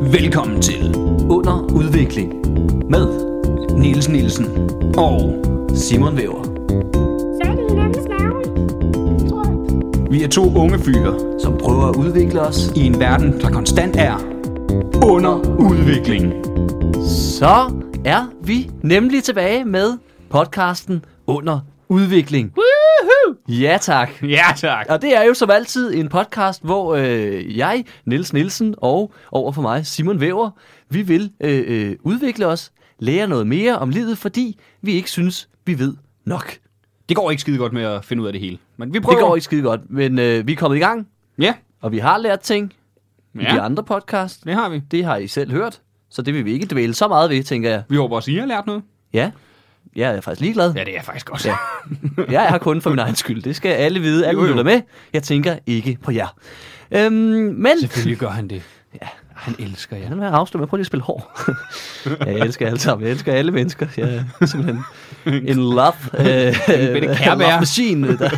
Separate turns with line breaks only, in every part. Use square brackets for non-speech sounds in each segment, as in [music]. Velkommen til Under Udvikling med Niels Nielsen og Simon Væver.
Fat i hinandens navle. Tror jeg.
Vi er to unge fyre
som prøver at udvikle os.
i en verden, der konstant er under udvikling.
Så er vi nemlig tilbage med podcasten Under Udvikling. Woohoo! Ja tak.
Ja tak.
Og det er jo som altid en podcast, hvor øh, jeg, Niels Nielsen og over for mig, Simon Væver, vi vil øh, øh, udvikle os, lære noget mere om livet, fordi vi ikke synes, vi ved nok.
Det går ikke skide godt med at finde ud af det hele. Men vi prøver.
Det går ikke skide godt, men øh, vi er kommet i gang,
Ja,
og vi har lært ting ja. i de
ja
andre podcast.
det har vi.
Det har I selv hørt, så det vil vi ikke dvæle så meget ved, tænker jeg.
Vi håber også, I har lært noget.
Ja. Jeg er faktisk ligeglad.
Ja, det er faktisk godt.
Ja. [laughs] Jeg er her kun for min egen skyld. Det skal alle vide. Alle
Jo, jo.
lytter med. Jeg tænker ikke på jer. Øhm, men...
Selvfølgelig gør han det. Ja, han elsker jer.
Han vil afsløre med. Prøv lige at spille hård. [laughs] jeg elsker alle sammen. Jeg elsker alle mennesker. Jeg er simpelthen en
[laughs]
love. Øh,
bitte kærbær.
love machine. øh, Der.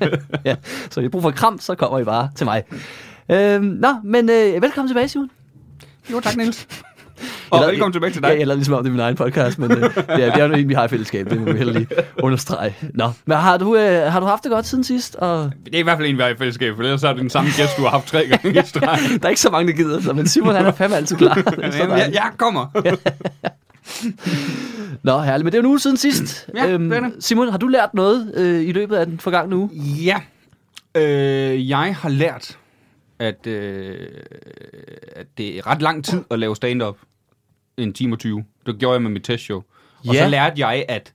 [laughs] ja. Så hvis I har brug for kram, så kommer I bare til mig. Øhm, nå, men øh, velkommen tilbage, Simon.
Jo, tak
[laughs]
Niels. Og
Jeg lader-
velkommen tilbage til
Ja,
dig.
jeg lader ligesom om, det er min egen podcast, men øh, det, er, det er jo en, vi har i fællesskab. Det må vi heller lige understrege. Nå, men har du, øh, har du haft det godt siden sidst? Og
Det er i hvert fald en, vi har i fællesskab, for ellers er det den samme gæst, du har haft tre gange
[laughs]
i streg.
der er ikke så mange, der gider, så, men Simon han er fandme
[laughs]
altid klar. Det er
Jamen,
så
jeg,
dejligt.
jeg kommer.
Nå, herligt, men det er jo en uge siden
[clears throat]
sidst. Øhm,
Ja, det er det.
Simon, har du lært noget øh, i løbet af den forgangne uge?
Ja. Øh, jeg har lært, at, øh, at det er ret lang tid at lave stand-up. En time og 20. Det gjorde jeg med mit testshow. Og
Ja.
så lærte jeg, at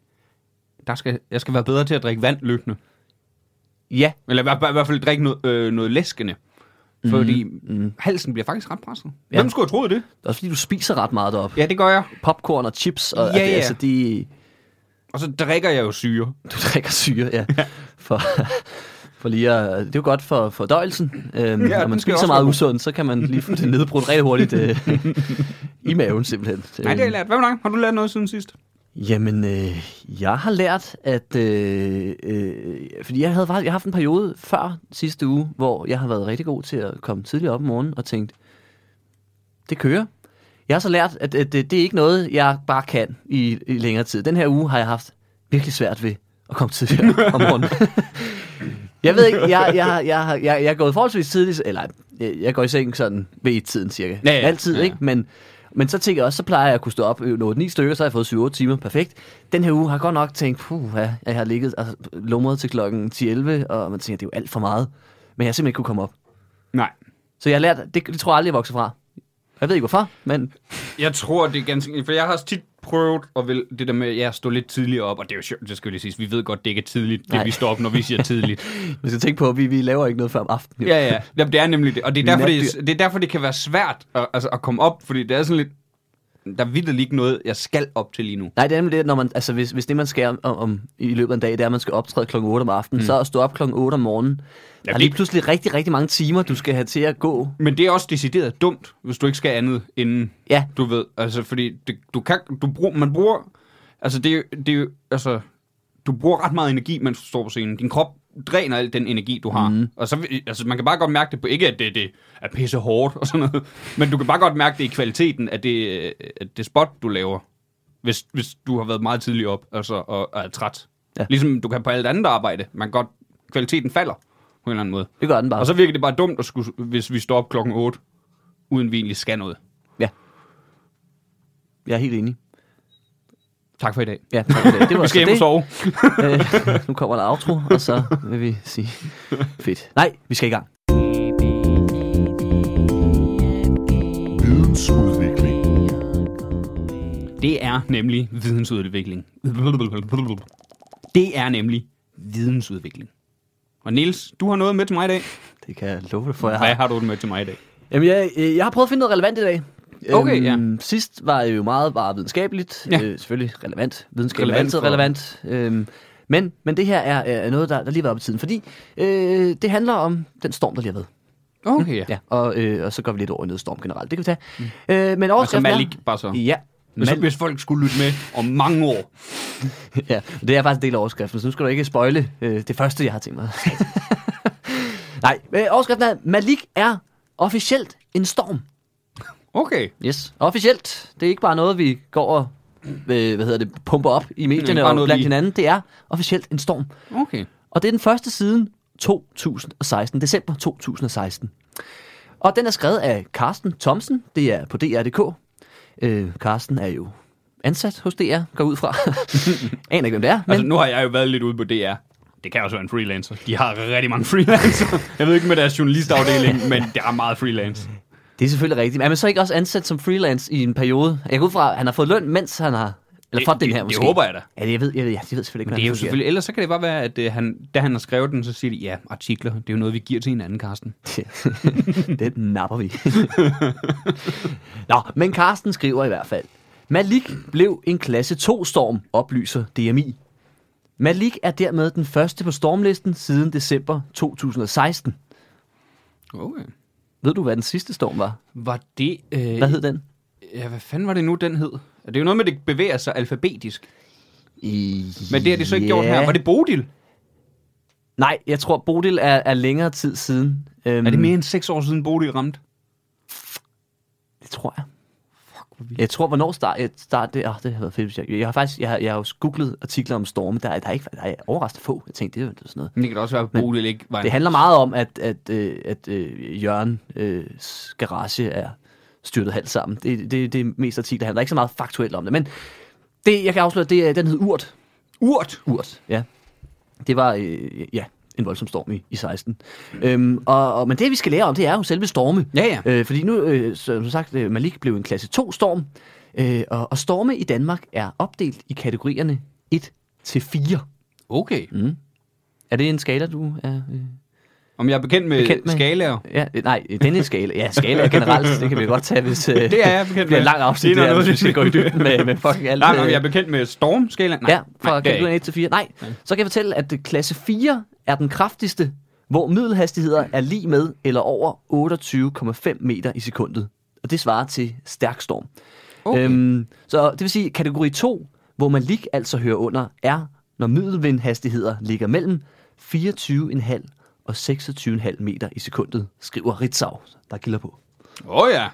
der skal, jeg skal være bedre til at drikke vand løbende.
Ja.
Eller i, hvert- i hvert fald drikke noget, øh, noget læskende. Fordi mm. halsen bliver faktisk ret presset.
Ja.
Hvem skulle have troet det?
Også fordi du spiser ret meget deroppe.
Ja, det gør jeg.
Popcorn og chips, og
Ja,
at det,
ja.
altså, de,
Og så drikker jeg jo syre.
du drikker syre, ja. For, for lige at, det er jo godt for fordøjelsen. Øhm,
den
ja, når man
skal
spiser
også
meget
være god.
usundt, så kan man lige få det nedbrudt ret hurtigt øh, i maven simpelthen.
Nej, det har
Øhm,
jeg lært. Hvad med dig? Har du lært noget siden sidst?
Jamen, øh, jeg har lært, at... Øh, øh, fordi jeg havde faktisk jeg har haft en periode før sidste uge, hvor jeg har været rigtig god til at komme tidligt op om morgenen og tænkt, det kører. Jeg har så lært, at, at det, det er ikke noget, jeg bare kan i, i længere tid. Den her uge har jeg haft virkelig svært ved at komme
[laughs]
tidligere om morgenen. jeg ved ikke, jeg, jeg, jeg, jeg, jeg, jeg er gået forholdsvis tidligt, eller jeg, jeg går i seng sådan ved et-tiden cirka.
Ja, ja.
Altid,
Ja, ja.
ikke? Men, men så tænker jeg også, så plejer jeg at kunne stå op øh, 8-9 stykker, så har jeg fået 7-8 timer. Perfekt. Den her uge har jeg godt nok tænkt, puh, ja, jeg har ligget og lumret til klokken 10-11, og man tænker, det er jo alt for meget. Men jeg har simpelthen ikke kunne komme op.
Nej.
Så jeg har lært, det, det tror jeg aldrig, jeg vokser fra. Jeg ved ikke hvorfor, men
Jeg tror, det er ganske... For jeg har også tit prøvet at vil, det der med, at jeg står lidt tidligere op, og det er jo sjovt, det skal jo lige siges. Vi ved godt, det ikke er tidligt, det
Nej.
vi står op, når vi siger tidligt.
vi skal tænke på, at vi, vi laver ikke noget før om aftenen. [laughs] jo.
ja, ja. Jamen, det er nemlig det. Og det
Vi
er,
er
derfor, det,
natdyr.
er, det er derfor, det kan være svært at, altså, at komme op, fordi det er sådan lidt... Der er vidderlig ikke noget, jeg skal op til lige nu.
Nej, det er nemlig det, når man, altså, hvis, hvis det, man skal om, om, i løbet af en dag, det er, at man skal optræde kl. 8 om aftenen, mm. så at stå op kl. 8 om morgenen, der er
det-
lige pludselig rigtig, rigtig mange timer, du skal have til at gå.
Men det er også decideret dumt, hvis du ikke skal andet inden,
Ja.
du ved. Altså, fordi det, du kan, du brug, man bruger... Altså, det, er jo- det, er jo- altså, du bruger ret meget energi, mens du står på scenen. Din krop dræner al den energi, du har. Mm. Og så, vil- altså, man kan bare godt mærke det på, ikke at det, det er pisse hårdt og sådan noget, men du kan bare godt mærke det i kvaliteten af det, øh, af det spot, du laver, hvis, hvis du har været meget tidligt op altså, og, og er træt.
Ja.
Ja. Ligesom du kan på alt andet arbejde. Man kan godt, kvaliteten falder på en eller anden måde.
Det gør den bare.
Og
Så...
så virker det bare dumt, at skulle, hvis vi står op klokken 8, uden vi egentlig skal noget.
Jeg er helt enig.
Tak for i dag.
Ja, tak for
[laughs]
det. det var
Vi skal hjem og
så det.
sove.
[laughs] Øh, nu kommer der outro, og så vil vi sige, fedt. Nej, vi skal i gang.
Vidensudvikling.
[laughs] Det er nemlig vidensudvikling. Det er nemlig vidensudvikling. Og Niels, du har noget med til mig i dag.
Det kan jeg love dig for, jeg har.
Hvad har du med til mig i dag?
Jamen, jeg, øh, jeg har prøvet at finde noget relevant i dag.
Okay,
ja. Sidst var jeg jo meget bare videnskabeligt.
Ja.
Ja. Øh, selvfølgelig relevant. Videnskab relevant er
Relevant
altid
for-
relevant. Øhm, men, men det her er, er noget, der, der lige var oppe i tiden. Fordi øh, det handler om den storm, der lige har været.
Okay,
Ja, og, øh, og så går vi lidt over i noget storm generelt. Det kan vi tage. Mm. Øh, men
Og så
overskriften
Malik,
er...
bare så.
Ja, [laughs]
Hvis,
Mal-
hvis folk skulle lytte med om mange år.
ja, det er faktisk en del af overskriften, så nu skal du ikke spoile øh, det første, jeg har tænkt mig. [laughs] Nej, øh, overskriften er, Malik er officielt en storm.
Okay.
Yes, officielt. Det er ikke bare noget, vi går og øh, hvad hedder det, pumper op i
Det er
medierne
ikke
og
bare
blandt
noget, vi-
hinanden. Det er officielt en storm.
Okay.
Og det er den første siden 2016, december 2016. Og den er skrevet af Carsten Thomsen, det er på DR.dk. Øh, Carsten er jo ansat hos DR, går ud
[laughs]
fra. Aner ikke, hvem det er. Men
Altså, nu har jeg jo været lidt ude på DR. Det kan også være en freelancer. De har rigtig mange [laughs] freelancer. Jeg ved ikke med deres journalistafdeling, men der er meget freelance.
det er selvfølgelig rigtigt. Men Er man så ikke også ansat som freelance i en periode? Jeg går ud fra, at han har fået løn, mens han har... Eller for
det,
den her,
det,
måske.
Det håber jeg da.
Ja, det- jeg ved, jeg ved, ja, det ved jeg selvfølgelig ikke,
Det er jo
hvordan fungerer.
selvfølgelig, ellers så kan det bare være, at øh, han, da han har skrevet den, så siger de, ja, artikler, det er jo noget, vi giver til hinanden, Karsten.
det napper vi. [laughs] Nå, men Carsten skriver i hvert fald. Malik blev en klasse 2-storm, oplyser DMI. Malik er dermed den første på stormlisten siden december 2016.
Okay.
Ved du, hvad den sidste storm var?
Var det... Øh,
Hvad hed den?
Ja, hvad fanden var det nu, den hed? Det er jo noget med, at det bevæger sig alfabetisk.
I...
Men det har de så ikke gjort her. Var det Bodil?
Nej, jeg tror, Bodil er, er længere tid siden. Øhm,
Er det mere end seks år siden, Bodil ramte?
Det tror jeg. Jeg tror, hvornår start, jeg start det, oh, det har været fedt. hvis Jeg, jeg har faktisk, jeg har, jeg har jo googlet artikler om storme, der, er- der er ikke, der er overraskende få. Jeg tænkte, det er jo sådan noget.
Men det kan da også være, at Bodil ikke var
Det
en...
handler meget om, at, at, øh, at øh, Jørgen øh, s- garage er styrtet halvt sammen. Det, det, det er mest artikler, han er ikke så meget faktuelt om det. Men det, jeg kan afsløre, det er, den hed Urt.
Urt!
Urt, ja. Det var, øh, ja, en voldsom storm i, i 16. Øhm, og, og, men det, vi skal lære om, det er jo selve storme.
Ja, ja.
Øh, fordi nu, øh, så- som sagt, øh, Malik blev en klasse 2-storm, øh, og, og storme i Danmark er opdelt i kategorierne 1-4.
Okay.
Mm. Er det en skala, du er... Øh?
Om jeg er bekendt med,
Bekendt
bekendt
med-
med...
[laughs]
skalaer?
Ja, øh, nej, denne skala. Ja, skala generelt, det kan vi godt tage, hvis øh,
Det er jeg bekendt
det bliver en
med.
lang afsnit,
Det er
det her,
noget,
hvis vi skal gå i dybden med, med
[laughs]
fucking alt. øh,
Nej, men om jeg er bekendt med stormskalaer? Nej,
Ja, fra
nej, det er jeg
kategorien
ikke.
1 til 4. Nej, så kan jeg fortælle, at øh, klasse 4 er den kraftigste, hvor middelhastigheder er lige med eller over 28,5 meter i sekundet. Og det svarer til stærk storm.
Okay.
Øhm, så det vil sige, at kategori 2, hvor Malik altså hører under, er, når middelvindhastigheder ligger mellem 24,5 og 26,5 meter i sekundet, skriver Ritzau, der gilder på.
Åh oh, ja.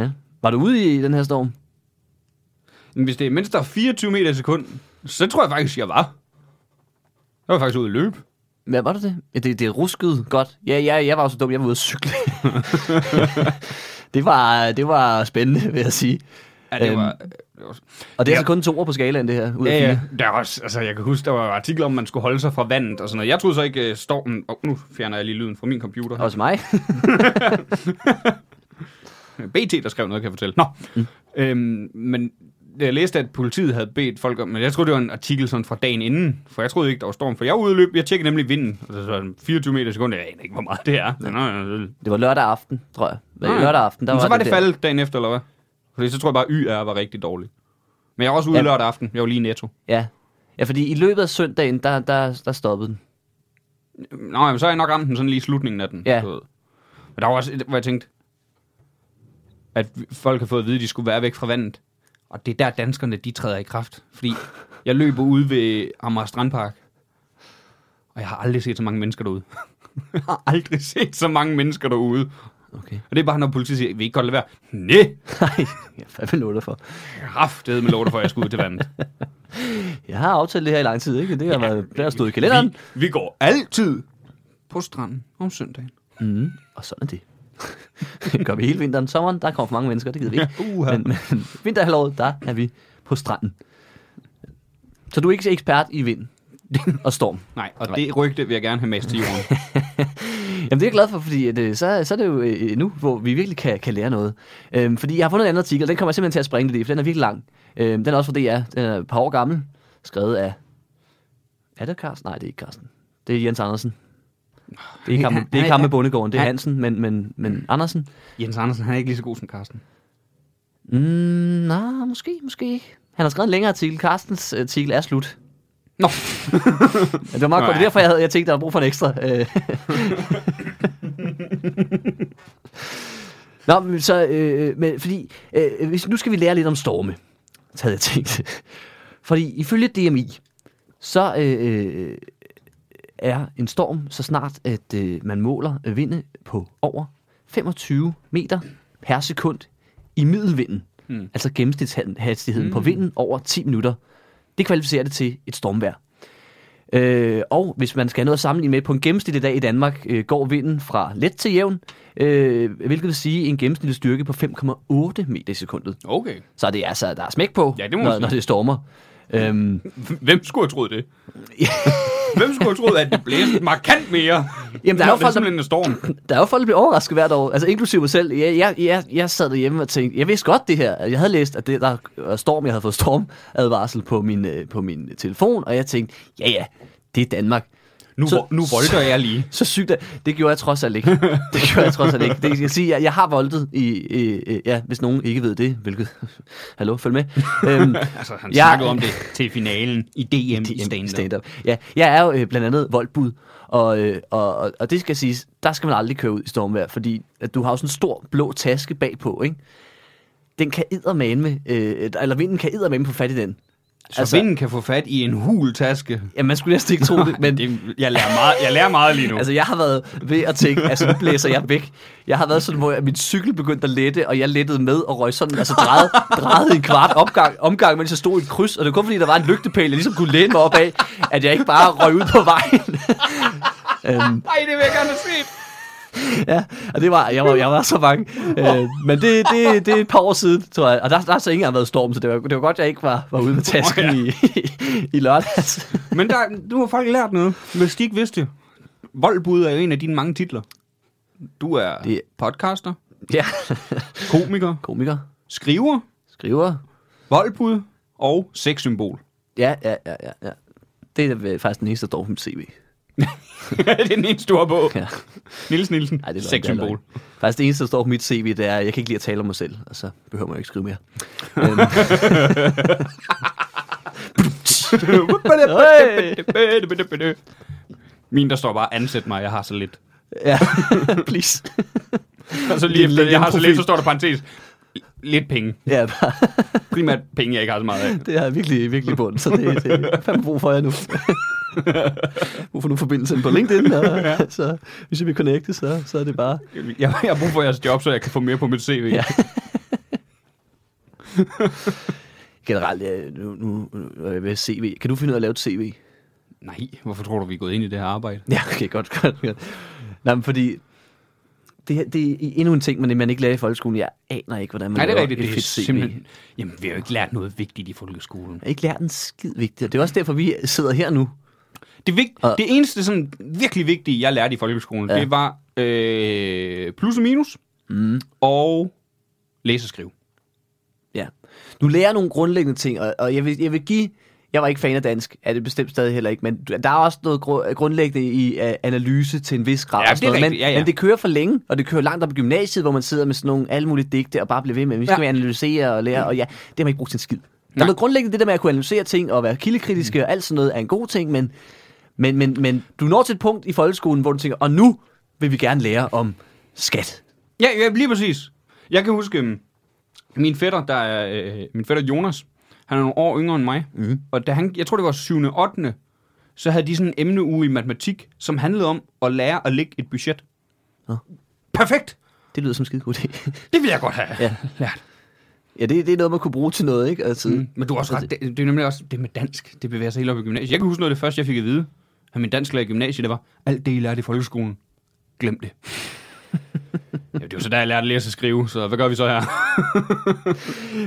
Ja. Var du ude i den her storm?
Men hvis det er mindst der er 24 meter i sekund, så tror jeg faktisk, jeg var. Jeg var faktisk ude at løbe.
Hvad var det det? Ja, det, det ruskede godt. Ja, ja, jeg var jo så dum, jeg var ude at
[laughs]
cykle. det, var, det var spændende, vil jeg sige.
Ja, det
Øhm,
var... Det var
Og det er
Ja.
altså kun to år på skalaen, det her. Ud af
ja,
fire.
ja. Der er også, altså, jeg kan huske, der var artikler om, man skulle holde sig fra vandet og sådan noget. Jeg troede så ikke, uh, stormen... Oh, nu fjerner jeg lige lyden fra min computer.
Også mig. [laughs]
BT, der skrev noget, kan jeg fortælle. Nå. Mm. Øhm, men jeg læste, at politiet havde bedt folk om... Men jeg troede, det var en artikel sådan fra dagen inden, for jeg troede ikke, der var storm. For jeg var ude at løbe, jeg tjekkede nemlig vinden. Og så var den 24 meter i sekundet. Jeg aner ikke, hvor meget det er. Så, nå, nå, nå.
Det var lørdag aften, tror jeg. Det var
Nej.
lørdag aften, der
Men
var
så var det,
der.
faldet dagen efter, eller hvad? Fordi så tror jeg bare, at YR var rigtig dårlig. Men jeg var også ude
Ja.
ja. lørdag aften. Jeg var lige i netto.
Ja. ja, fordi i løbet af søndagen, der, der, der stoppede den. [laughs]
Nå, men så har jeg nok ramt den sådan lige i slutningen af den.
Ja.
du ved. Men der var også et, hvor jeg tænkte, at vi- folk har fået at vide, at de skulle være væk fra vandet. Og det er der danskerne, de træder i kraft. Fordi jeg løber ude ved Amager Strandpark. Og jeg har aldrig set så mange mennesker derude. [laughs] jeg har aldrig set så mange mennesker derude.
Okay.
Og det er bare, når politiet siger, vil I ikke godt lade være? Næh,
Nej, jeg er fandme lov for.
kraftede med lov for, at jeg skulle ud til
[laughs]
vandet.
Jeg har aftalt det her i lang tid, ikke? Det har, ja. været, det har stået i kalenderen.
Vi, vi går altid på stranden om søndagen.
Mm. Og sådan er det. det [laughs] gør vi hele vinteren. Sommeren, der kommer for mange mennesker, det gider vi ikke.
Uha.
Men, men vinterhalvåret, der er vi på stranden. Så du er ikke ekspert
[laughs]
i vind og storm.
Nej, og det rygte vil jeg gerne have med til jorden.
Jamen, det er jeg glad for, fordi at, øh, så, så er det jo øh, nu, hvor vi virkelig kan, kan lære noget. Øhm, fordi jeg har fundet en anden artikel, og den kommer jeg simpelthen til at springe lidt i, for den er virkelig lang. Øhm, den er også fra DR, den er et par år gammel, skrevet af... Er det Carsten? Nej, det er ikke Carsten. Det er Jens Andersen. Det er ikke ham, det er ikke ham med bondegården, det er
han- Mm.
Hansen, men, men, men Andersen.
Jens Andersen, han er ikke lige så god som Carsten.
Mm, nej, måske, måske ikke. Han har skrevet en længere artikel. Carstens øh, artikel er slut.
Nå,
[laughs] Ja, Det var meget
Nå,
godt. Det er
ja.
derfor, jeg, havde, jeg tænkte, der var brug for en ekstra. øh. [laughs] Nå, men så, øh, men fordi, øh, hvis, nu skal vi lære lidt om storme, så havde jeg tænkt. Fordi ifølge DMI, så øh, er en storm så snart, at øh, man måler vinde på over 25 meter per sekund i middelvinden,
Mm.
mm. altså gennemsnitshastigheden
Hmm.
mm. på vinden over 10 minutter, det kvalificerer det til et stormvejr. Øh, og hvis man skal have noget at sammenligne med, på en gennemsnitlig dag i Danmark øh, går vinden fra let til jævn, øh, hvilket vil sige en gennemsnitlig styrke på 5,8 meter i sekundet.
Okay.
Så det er altså, der er smæk på,
Ja, det må man
når,
sige.
når det stormer. Øhm,
Hvem skulle have [laughs] troet det? Hvem skulle have troet, at det blæste markant mere?
Jamen, der
Når
er jo
det
folk, der-
simpelthen en storm.
[coughs] der er jo folk, der bliver overrasket hvert år, altså inklusive mig selv. Jeg, jeg, jeg, jeg sad derhjemme og tænkte, jeg vidste godt det her. Jeg havde læst, at det, der var storm, jeg havde fået stormadvarsel på min, øh, på min telefon, og jeg tænkte, ja ja, det er Danmark.
Nu,
Så-
nu volter jeg lige.
[laughs] Så sygt, at- det gjorde jeg trods
[laughs]
alt ikke. Det gjorde jeg trods alt ikke. Det, jeg skal sige, jeg, jeg har voldet i, i, i, ja, hvis nogen ikke ved det, hvilket, [laughs]
[laughs]
hallo, følg med. Øhm,
Altså, han
Ja.
snakkede om det til finalen i DM i stand-up.
Ja, jeg er jo øh, blandt andet voldbud, og, øh, og, og, og det skal siges, der skal man aldrig køre ud i stormvejr, fordi at du har jo sådan en stor blå taske bagpå, ikke? Den kan eddermame, øh, eller vinden kan eddermame på fat i den.
Så altså, vinden kan få fat i en hul taske.
ja, man skulle næsten ikke tro det, men...
det, jeg, lærer meget, jeg lærer meget lige nu.
Altså, jeg har været ved at tænke, altså, nu blæser jeg væk. Jeg har været sådan, hvor jeg, min cykel begyndte at lette, og jeg lettede med og røg sådan, altså drejede, drejede en kvart opgang, omgang, mens jeg stod i et kryds. Og det var kun fordi, der var en lygtepæl, jeg ligesom kunne læne mig op af, at jeg ikke bare røg ud på vejen. [laughs] øhm,
Nej, det vil jeg gerne have set.
ja, og det var, jeg var, jeg var så bange. Øh, men det, det, det er et par år siden, tror jeg. Og der, der har så ikke engang været storm, så det var, det var godt, jeg ikke var, var ude med tasken i, i, i lørdags. [laughs]
Men der, nu har folk lært noget, hvis de ikke vidste det. Voldbud er jo en af dine mange titler. Du er det...
Det-
podcaster,
ja,
komiker,
komiker,
skriver,
skriver,
voldbud og sexsymbol. [laughs]
Ja, ja, ja, ja. ja. Det er øh, faktisk den eneste, der står på mit CV.
det er den eneste, du har [laughs] på.
Ja.
Niels Nielsen,
Ej, det er løgn, det er
sexsymbol.
løgn. Faktisk det eneste, der står på mit CV, det er, at jeg kan ikke lide at tale om mig selv, og så behøver man jo ikke skrive mere. Øhm. [laughs] Hey!
[laughs] Min, der står bare, ansæt mig, jeg har så lidt.
[laughs] ja, [laughs] please.
Og så lige
Din
efter, jeg har så
LinkedIn-profil.
lidt, så står der parentes. Lidt penge.
Ja, bare,
Primært penge, jeg ikke har så [laughs] meget af.
det er virkelig, virkelig bundt, så det, det er fandme brug for jer [laughs] nu. brug for nu forbindelsen på LinkedIn, [laughs] og så, hvis I vil connecte, så, så er det bare...
Jeg, jeg har brug for jeres job, så jeg kan få mere på mit CV.
Ja. Generelt, ja, nu, nu, nu er jeg ved CV. Kan du finde ud af at lave et CV?
Nej, hvorfor tror du, vi er gået ind i det her arbejde?
[laughs] Ja, okay, godt, godt, godt. Nej, men fordi... Det, her, det er endnu en ting, man, man ikke lærer i folkeskolen. Jeg aner ikke, hvordan man
Nej, det er
laver
rigtigt.
et
Det er
fedt CV.
simpelthen... Jamen, vi har jo ikke lært noget vigtigt i folkeskolen.
Jeg har ikke lært en skid vigtigt. Og det er også derfor, vi sidder her nu.
Det, vigt...
Og-
det eneste sådan, virkelig vigtige, jeg lærte i folkeskolen, ja.
Ja.
det var øh, plus og minus mm. og læse og skrive.
Ja. Du lærer nogle grundlæggende ting, og, og jeg, vil, jeg vil give... Jeg var ikke fan af dansk, er det bestemt stadig heller ikke, men der er også noget gru- grundlæggende i uh, analyse til en vis grad.
Ja,
og sådan
det er
noget. men,
rigtigt. Ja, ja.
men det kører for længe, og det kører langt op i gymnasiet, hvor man sidder med sådan nogle alle mulige digte og bare bliver ved med, vi skal
Ja.
ja. analysere og lære, og ja, det har man ikke brugt til en skid. Der
Nej. Mm.
er noget grundlæggende det der med at kunne analysere ting og være kildekritiske og alt sådan noget er en god ting, men, men, men, men du når til et punkt i folkeskolen, hvor du tænker, og nu vil vi gerne lære om skat.
Ja, ja lige præcis. Jeg kan huske, øhm, min fætter, der er, øh, min fætter Jonas, han er nogle år yngre end mig, mm. og da han, jeg tror det var 7. og 8. så havde de sådan en emneuge i matematik, som handlede om at lære at lægge et budget.
Nå.
Perfekt!
Det lyder som en skide god idé. [laughs]
Det vil jeg godt have ja.
Ja.
lært.
Ja, det, det er noget, man kunne bruge til noget, ikke? Altså, mm.
Men du har også ret, det, det er nemlig også det med dansk, det bevæger sig helt op i gymnasiet. Jeg kan huske noget af det første, jeg fik at vide af min dansklærer i gymnasiet, det var, alt det, I lærte i folkeskolen, glem det. [laughs] ja, det var så der, jeg lærte at læse og skrive, så hvad gør vi [laughs] så her?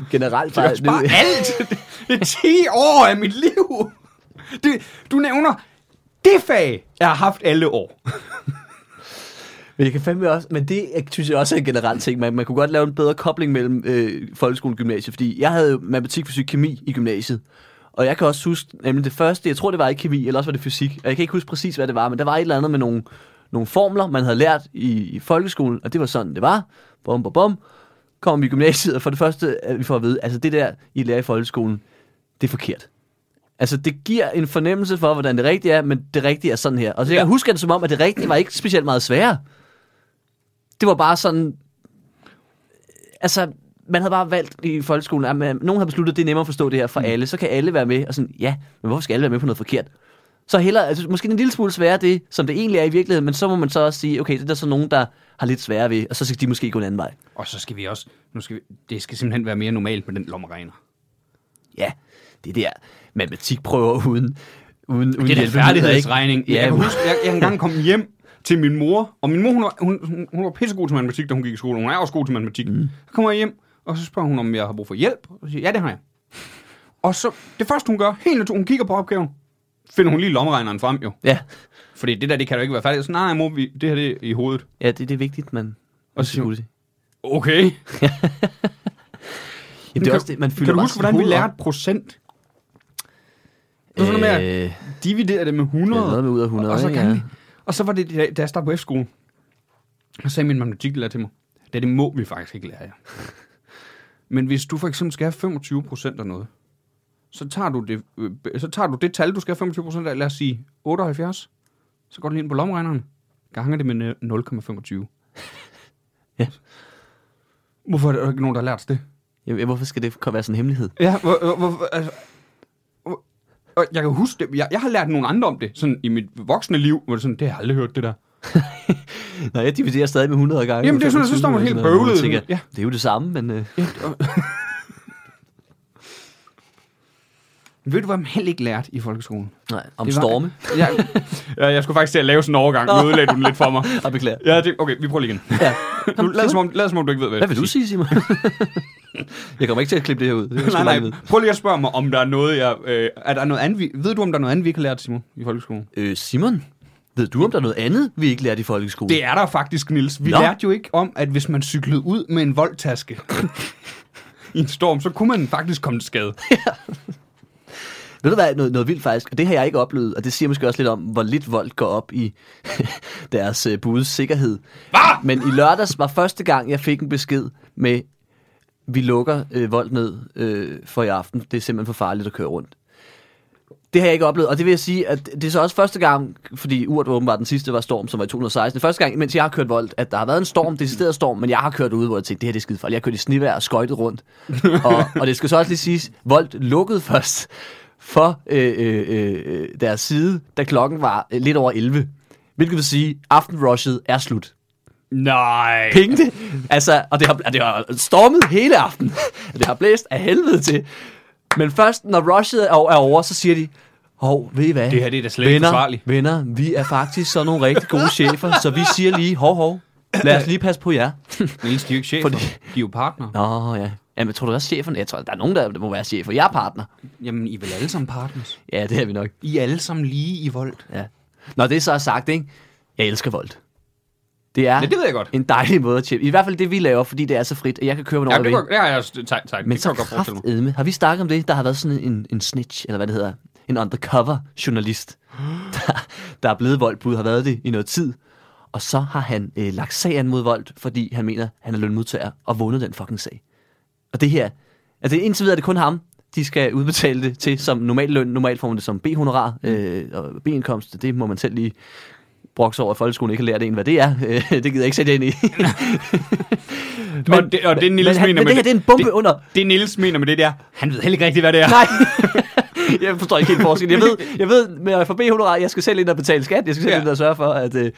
Generelt
Det er også
bare...
bare
nu-
alt. [laughs] Det er 10 år af mit liv. Det, du nævner det fag, jeg har haft alle år.
Men jeg kan fandme også... Men det jeg synes jeg også er en generel ting. Man, man kunne godt lave en bedre kobling mellem øh, folkeskole og gymnasiet, fordi jeg havde jo matematik, fysik, kemi i gymnasiet. Og jeg kan også huske, nemlig det første, jeg tror det var i kemi, eller også var det fysik, og jeg kan ikke huske præcis, hvad det var, men der var et eller andet med nogle, nogle formler, man havde lært i, i folkeskolen, og det var sådan, det var. Bum, bum, bum. Kommer vi i gymnasiet, og for det første, at vi får at vide, altså det der, I lærer i folkeskolen, det er forkert. Altså, det giver en fornemmelse for, hvordan det rigtige er, men det rigtige er sådan her. Og så jeg
Ja.
kan huske det som om, at det rigtige var ikke specielt meget sværere. Det var bare sådan... Altså, man havde bare valgt i folkeskolen, at man, nogen havde besluttet, at det er nemmere at forstå det her
Mm.
for alle, så kan alle være med, og sådan, ja, men hvorfor skal alle være med på noget forkert? Så heller, altså, måske en lille smule sværere det, som det egentlig er i virkeligheden, men så må man så også sige, okay, det er der så nogen, der har lidt sværere ved, og så skal de måske gå en anden vej.
Og så skal vi også... Nu skal vi, det skal simpelthen være mere normalt med den lommeregner.
Ja, det der matematikprøver uden uden, uden
Det er da
hjælpemidler, ikke?
færdighedsregning. Ja, jeg,
Ja,
kan huske, jeg, jeg engang kom hjem til min mor, og min mor, hun var, hun, hun, hun var pissegod til matematik, da hun gik i skole. Hun er også god til matematik. Mm. Så kommer jeg hjem, og så spørger hun, om jeg har brug for hjælp. Og så siger, jeg, ja, det har jeg. Og så, det første, hun gør, helt naturligt, hun kigger på opgaven, finder hun lige lommeregneren frem, jo.
ja.
Fordi det der, det kan da ikke være færdigt. Så nej, mor, vi, det her det er i hovedet.
ja det, det er vigtigt, man...
Og
man
så siger hun,
det.
Okay.
Jamen, det er også det, man fylder
kan du
bare
huske,
sit
hvordan vi
hoved op.
lærte procent? Det var sådan noget med,
Øh,
at dividere det med 100.
ja, noget med ud af 100,
og, så
ikke?
gange
Ja.
det. og så var det, da- da jeg startede på F-skolen, og sagde min matematiklærer til mig, det, det må vi faktisk ikke lære jer. [laughs] Men hvis du for eksempel skal have 25 procent af noget, så tager, du det, øh, så tager du det tal, du skal have 25 procent af, lad os sige 78, så går du lige ind på lommeregneren, ganger det med øh, 0,25.
[laughs] Ja.
Hvorfor er der ikke nogen, der har lært os det?
Jamen, hvorfor skal det komme- være sådan en hemmelighed?
Ja, hvor, hvor, hvor, altså, hvor, og jeg kan huske det. Jeg, jeg har lært nogen andre om det, sådan i mit voksne liv, hvor det sådan, det har jeg aldrig hørt det der.
Nå, jeg dividerer stadig med 100 gange.
Jamen, det er sådan, så står man helt bøvlet. Ja.
Ja. Det er jo det samme, men... Øh,
Ved du, hvad man heller ikke lærte i folkeskolen?
nej, om
Det var-
storme.
Ja, ja, jeg skulle faktisk til at lave sådan en overgang. Nu ødelagde du den lidt for mig.
Og beklager.
Ja, det, okay, vi prøver lige igen.
Ja.
Nu, lad, som om, lad som om, du ikke ved, hvad,
Hvad vil
jeg
du
skal
sige,
[laughs]
Simon? jeg kommer ikke til at klippe det her ud. Det er
Nej, nej. Prøv lige at spørge mig, om der er noget, jeg... Øh, er der noget andet, vi, ved du, om der er noget andet, vi ikke har lært, Simon, i folkeskolen?
Øh, Simon, ved du, om der er noget andet, vi ikke lærte i folkeskolen?
Det er der faktisk, Nils. Vi Nå.
Nå.
lærte jo ikke om, at hvis man cyklede ud med en voldtaske i en storm, så kunne man faktisk komme til skade.
Ved du hvad, noget, noget vildt faktisk, og det har jeg ikke oplevet, og det siger måske også lidt om, hvor lidt vold går op i [laughs] deres øh, budes sikkerhed. Hva? Men i lørdags var første gang, jeg fik en besked med, vi lukker øh, vold ned øh, for i aften, det er simpelthen for farligt at køre rundt. Det har jeg ikke oplevet, og det vil jeg sige, at det er så også første gang, fordi urt åbenbart den sidste var storm, som var i 2016. Første gang, mens jeg har kørt vold, at der har været en storm, decideret storm, men jeg har kørt ud, hvor jeg tænkte, det her det er skide farligt. Jeg har kørt i snevejr og skøjtet rundt. og, og, det skal så også lige siges, vold lukkede først for øh, øh, øh, deres side, da klokken var øh, lidt over 11. Hvilket vil sige, aftenrushet er slut
Nej.
penge det. Altså, og det har, og det har stormet hele aften. Det har blæst af helvede til. Men først, når rushet er er over, så siger de, hov, ved I hvad?
Det her, det er da slet ikke
venner,
forsvarligt."
venner, vi er faktisk sådan nogle rigtig gode chefer, så vi siger lige, hov, hov, lad os lige passe på jer.
Nils, de er jo ikke chefer.
Fordi-
De er jo partner.
Nå, ja. Jamen, tror du også chefen? Jeg tror, der er nogen, der må være chefer. Jeg er partner.
Jamen, I er vel alle sammen partners.
Ja, det er vi nok.
I er alle sammen lige i vold.
Ja. Når det så er sagt, ikke? Jeg elsker vold. Det er
Ja, det ved jeg godt.
en dejlig måde at tjekke. I hvert fald det, vi laver, fordi det er så frit, at jeg kan køre, hvornår
Ja,
jeg
det,
vil.
var, det har jeg også tegn, tegn. det
Men
kan
så
jeg godt forestille mig.
kraftedme. Har vi snakket om det? Der har været sådan en, en snitch, eller hvad det hedder. En undercover journalist, der, der er blevet voldbud, har været det i noget tid. Og så har han øh, lagt sagen mod vold, fordi han mener, han er lønmodtager og vundet den fucking sag. Og det her, altså indtil videre er det kun ham, de skal udbetale det til som normal løn. Normalt får man det som B-honorar
Mm.
øh, og B-indkomst. Det må man selv lige brokse over, at folkeskolen ikke har lært en, hvad det er. Øh, det gider jeg ikke sætte jer ind i.
og det, og det Nils
men,
mener
han- men
med
det her, det er en bombe
det,
under.
det Nils mener med det der, han ved heller ikke rigtigt, hvad det er.
Nej. [laughs] jeg forstår ikke helt forskellen. Jeg ved, jeg ved med at få B-honorar, jeg skal selv ind og betale skat. Jeg skal selv
Ja.
ja. ind og sørge for, at... Øh,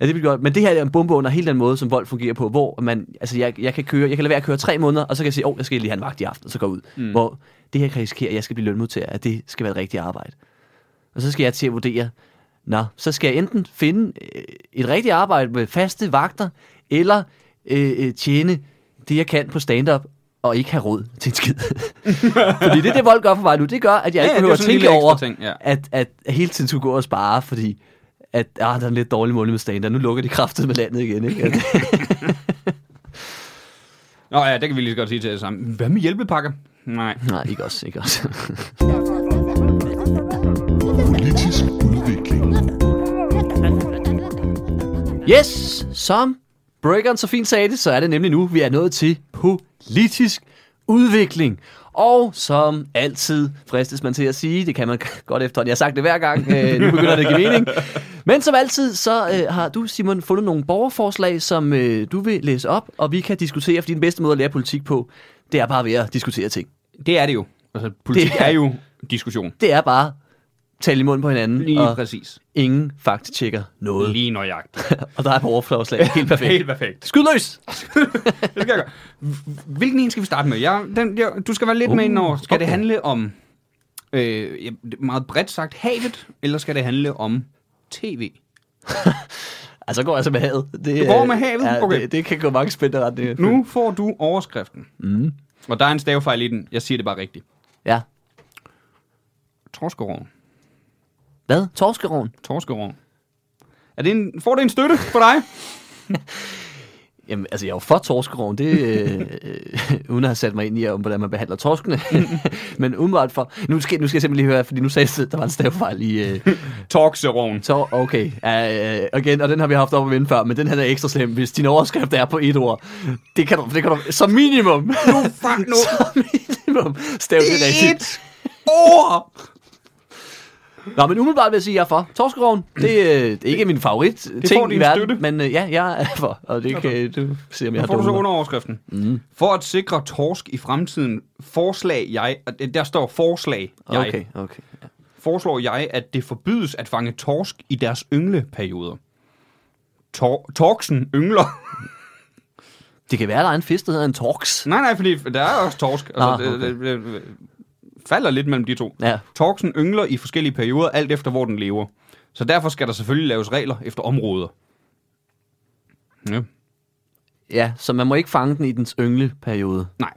Ja, det bliver godt. Men det her er en bombe under hele den måde, som vold fungerer på, hvor man, altså jeg, jeg kan køre, jeg kan lade være at køre tre måneder, og så kan jeg sige, åh, oh, jeg skal lige have en vagt i aften, og så gå ud. Mm. Hvor det her kan risikere, at jeg skal blive lønmodtager, at det skal være et rigtigt arbejde. Og så skal jeg til at vurdere, nå, så skal jeg enten finde øh, et rigtigt arbejde med faste vagter, eller øh, øh, tjene det, jeg kan på stand-up, og ikke have råd til en skid. [laughs] fordi det, det vold gør for mig nu, det gør, at jeg
Ja, ja,
ikke
det er
behøver at
sådan en
tænke
lille ekstra
over,
ting, ja.
at, at hele tiden skulle gå og spare, fordi at ah, der er en lidt dårlig måned med stand nu lukker de kraftet med landet igen. Ikke? Altså,
Nå ja, det kan vi lige så godt sige til det samme. Hvad med hjælpepakker? Nej.
nej, ikke også, ikke også.
Politisk udvikling.
Yes, som Breakeren så fint sagde det, så er det nemlig nu, vi er nået til politisk udvikling. Og som altid fristes man til at sige, det kan man [laughs] godt efterhånden, jeg har sagt det hver gang, øh, nu begynder det at give mening. Men som altid, så øh, har du, Simon, fundet nogle borgerforslag, som øh, du vil læse op, og vi kan diskutere, fordi den bedste måde at lære politik på, det er bare ved at diskutere ting.
Det er det jo. Altså, politik det
Det
er,
er-
er jo diskussion.
Det er bare tale i munden på hinanden,
Lige
og
præcis.
ingen faktatjekker noget.
Lige nøjagtigt.
og der er et overflagslag. Helt perfekt.
Helt perfekt.
Skyd løs!
Det skal jeg gøre. Hvilken en skal vi starte med? Jeg, den, jeg, du skal være lidt uh, med ind over. Skal okay. det
okay.
handle om, øh, ja, meget bredt sagt, havet, eller skal det handle om tv?
Altså, så går jeg altså med havet. Det,
Du går
øh,
med havet?
Ja,
Okay.
det, det, kan gå mange spændende retninger.
Nu får du overskriften. Mm. Og der er en stavefejl i den. Jeg siger det bare rigtigt.
Ja.
Torskeroven.
Hvad? Torskeroven?
Torskeroven. Er det en, får det en støtte for dig?
Jamen, altså, jeg er jo for torskeroven. Det, øh, øh, uden at have sat mig ind i, om hvordan man behandler torskene. [laughs] Men umiddelbart for... Nu skal, nu skal jeg simpelthen lige høre, fordi nu sagde jeg, at der var en stavefejl i... Øh,
Torkseroven.
Så okay, uh, uh, igen, og den har vi haft op at vinde før, men den her er ekstra slem, hvis din overskrift er på et ord. Det kan du, det kan du som minimum,
Nu, fuck nu.
[laughs] som minimum stave det rigtigt.
Et ord!
Nå, men umiddelbart vil jeg sige, at jeg er for. Torskeroven, det, øh, det er ikke min favorit det
får
ting
din
i verden,
støtte.
men uh, ja, jeg er for, og det kan du se, om jeg
Nu
har
får du så
dumme.
underoverskriften. Mm. For at sikre torsk i fremtiden, forslag jeg, og det- der står forslag jeg,
Okay, okay.
foreslår jeg, at det forbydes at fange torsk i deres yngleperioder. Tor- torksen yngler. [laughs]
Det kan være, der er en fisk, der hedder en torks.
nej, nej, fordi der er også torsk. Altså,
Ah,
ah, okay. det, det, det, falder lidt mellem de to.
Ja.
Torksen yngler i forskellige perioder, alt efter hvor den lever. Så derfor skal der selvfølgelig laves regler efter områder. Ja.
ja, så man må ikke fange den i dens yngleperiode.
Nej.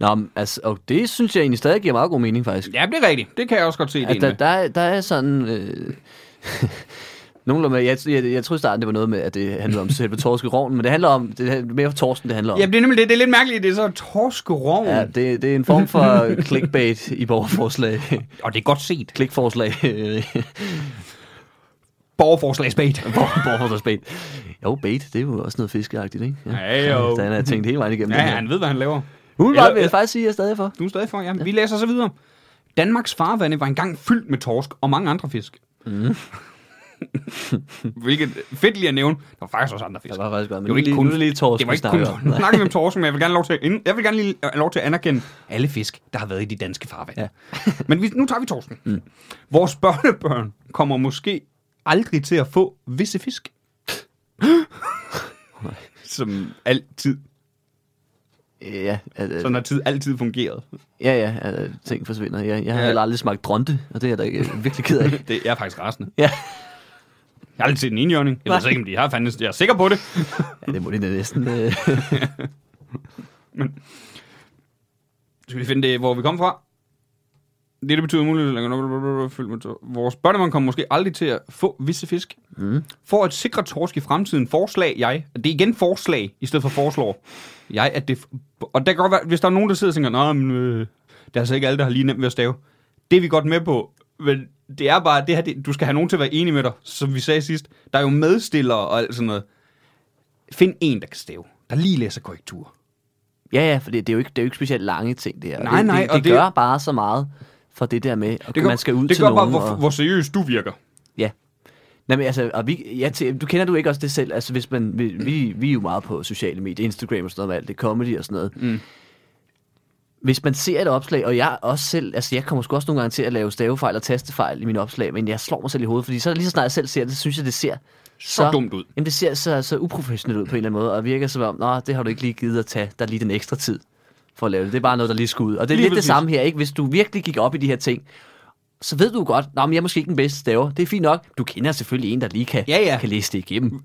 Nå, men, altså, og det synes jeg egentlig stadig giver meget god mening, faktisk.
Ja, det er rigtigt. Det kan jeg også godt se.
Ja,
ideen
der,
med.
der, er- der er sådan... Øh, [laughs] Nogle med, jeg, jeg, jeg troede i starten, det var noget med, at det handlede om selve torskerovnen, men det handler om, det er mere torsken, det handler om.
Ja, det er nemlig det, det er lidt mærkeligt, det er så torskeroven.
Ja,
Ja.
det, det er en form for clickbait i borgerforslag.
Og det er godt set. [laughs]
Klikforslag.
Borgerforslagsbait.
Bor- borgerforslagsbait. Jo, bait, det er jo også noget fiskeagtigt, ikke?
Ja, jo.
Så han har tænkt hele vejen igennem.
Ja,
det her.
han ved, hvad han laver.
Umiddelbart vil
Eller-
jeg faktisk sige, at jeg er stadig for.
Du er stadig for, ja. Vi læser så videre. Danmarks farvande var engang fyldt med torsk og mange andre fisk. Mm. [laughs] Hvilket fedt lige at nævne. Der var faktisk også andre fisk.
Jeg var faktisk godt, men
Det var
nu
ikke
lige-
kun,
nu er det lige torsken,
det var ikke
vi snakker om.
kun snakke om torsken, men jeg vil gerne, lov til at ind, jeg vil gerne lige have lov til at anerkende alle fisk, der har været i de danske farvande. Ja. [laughs] men vi, nu tager vi torsken. Mm. Vores børnebørn kommer måske aldrig til at få visse [gasps] fisk. Som altid.
Ja, at, øh,
Sådan har tid altid fungeret.
ja, ja, at, øh, ting forsvinder. Jeg, jeg har
Ja.
heller aldrig smagt dronte, og det er jeg da ikke, øh, virkelig
[laughs]
ked af.
Det er faktisk rasende.
Ja.
Jeg har aldrig set en enhjørning. Jeg ved
Nej.
så ikke, om de har fandtes. Jeg er sikker på det.
Ja, det må det da næsten. Øh.
Skal vi finde det, hvor vi kom fra? Det, det betyder muligt, at fyldt med tår. vores børnevogn kommer måske aldrig til at få visse fisk. Mm. For at sikre torsk i fremtiden, forslag jeg, og det er igen forslag, i stedet for foreslår, jeg, at det, og der kan godt være, hvis der er nogen, der sidder og tænker, nej, men, øh, det er altså ikke alle, der har lige nemt ved at stave. Det er vi godt med på, men det er bare, det her, det, du skal have nogen til at være enige med dig, som vi sagde sidst. Der er jo medstillere og alt sådan noget. Find en, der kan stave, der lige læser korrektur.
Ja, ja, for det, det, er jo ikke, det er jo ikke specielt lange ting, det her.
Nej,
det,
nej,
det, det,
og det-
gør bare så meget for det der med, at
Det
det
gør,
gør, man skal ud
det
til
gør
nogen.
bare, hvor,
og,
hvor seriøst du virker.
Ja. Nej, men altså, og vi, ja, til, du kender du ikke også det selv, altså hvis man, vi,
Mm.
vi, vi er jo meget på sociale medier, Instagram og sådan noget, med alt det comedy og sådan noget. Mm. Hvis man ser et opslag, og jeg også selv, altså jeg kommer sgu også nogle gange til at lave stavefejl og tastefejl i mine opslag, men jeg slår mig selv i hovedet, fordi så lige så snart jeg selv ser det, så synes jeg, det ser så,
dumt ud.
Jamen det ser så, så uprofessionelt ud på en eller anden måde, og virker som om, nå, det har du ikke lige givet at tage, der er lige den ekstra tid for at lave det. Det er bare noget, der lige skal ud. Og det
Lige
er lige lidt
præcis.
det samme her, ikke? Hvis du virkelig gik op i de her ting, så ved du godt, Nå, men jeg er måske ikke den bedste staver. Det er fint nok. Du kender selvfølgelig en, der lige kan,
Ja, ja.
kan læse det igennem.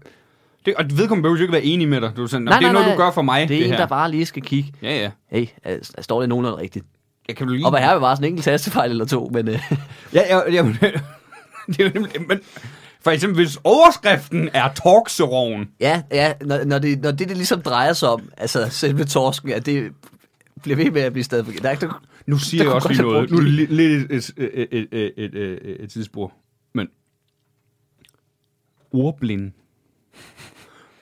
Det, og vedkommende behøver jo ikke være enig med dig. Du er sådan, nej, det er noget, du gør for mig,
Det er en,
her.
der bare lige skal kigge.
Ja, ja.
Hey, øh, står det nogenlunde rigtigt?
Jeg kan jo lige...
Og hvad her er jo bare sådan en enkelt tastefejl eller to, men øh, [laughs]
Ja, ja, ja, men- [laughs] det er jo nemlig... Men, for eksempel, hvis overskriften er torkseroven,
ja, ja når, når, det, når det, det ligesom drejer sig om, altså selve torsken, at det bliver ved med at blive stadig forkert. Der er ikke, der,
nu siger
Der
jeg også
kunne
lige
godt
noget.
have
Nu
brugt
er det li- lidt et, et, et, et, et, et, et, et tidsspur. Men... Ordblind.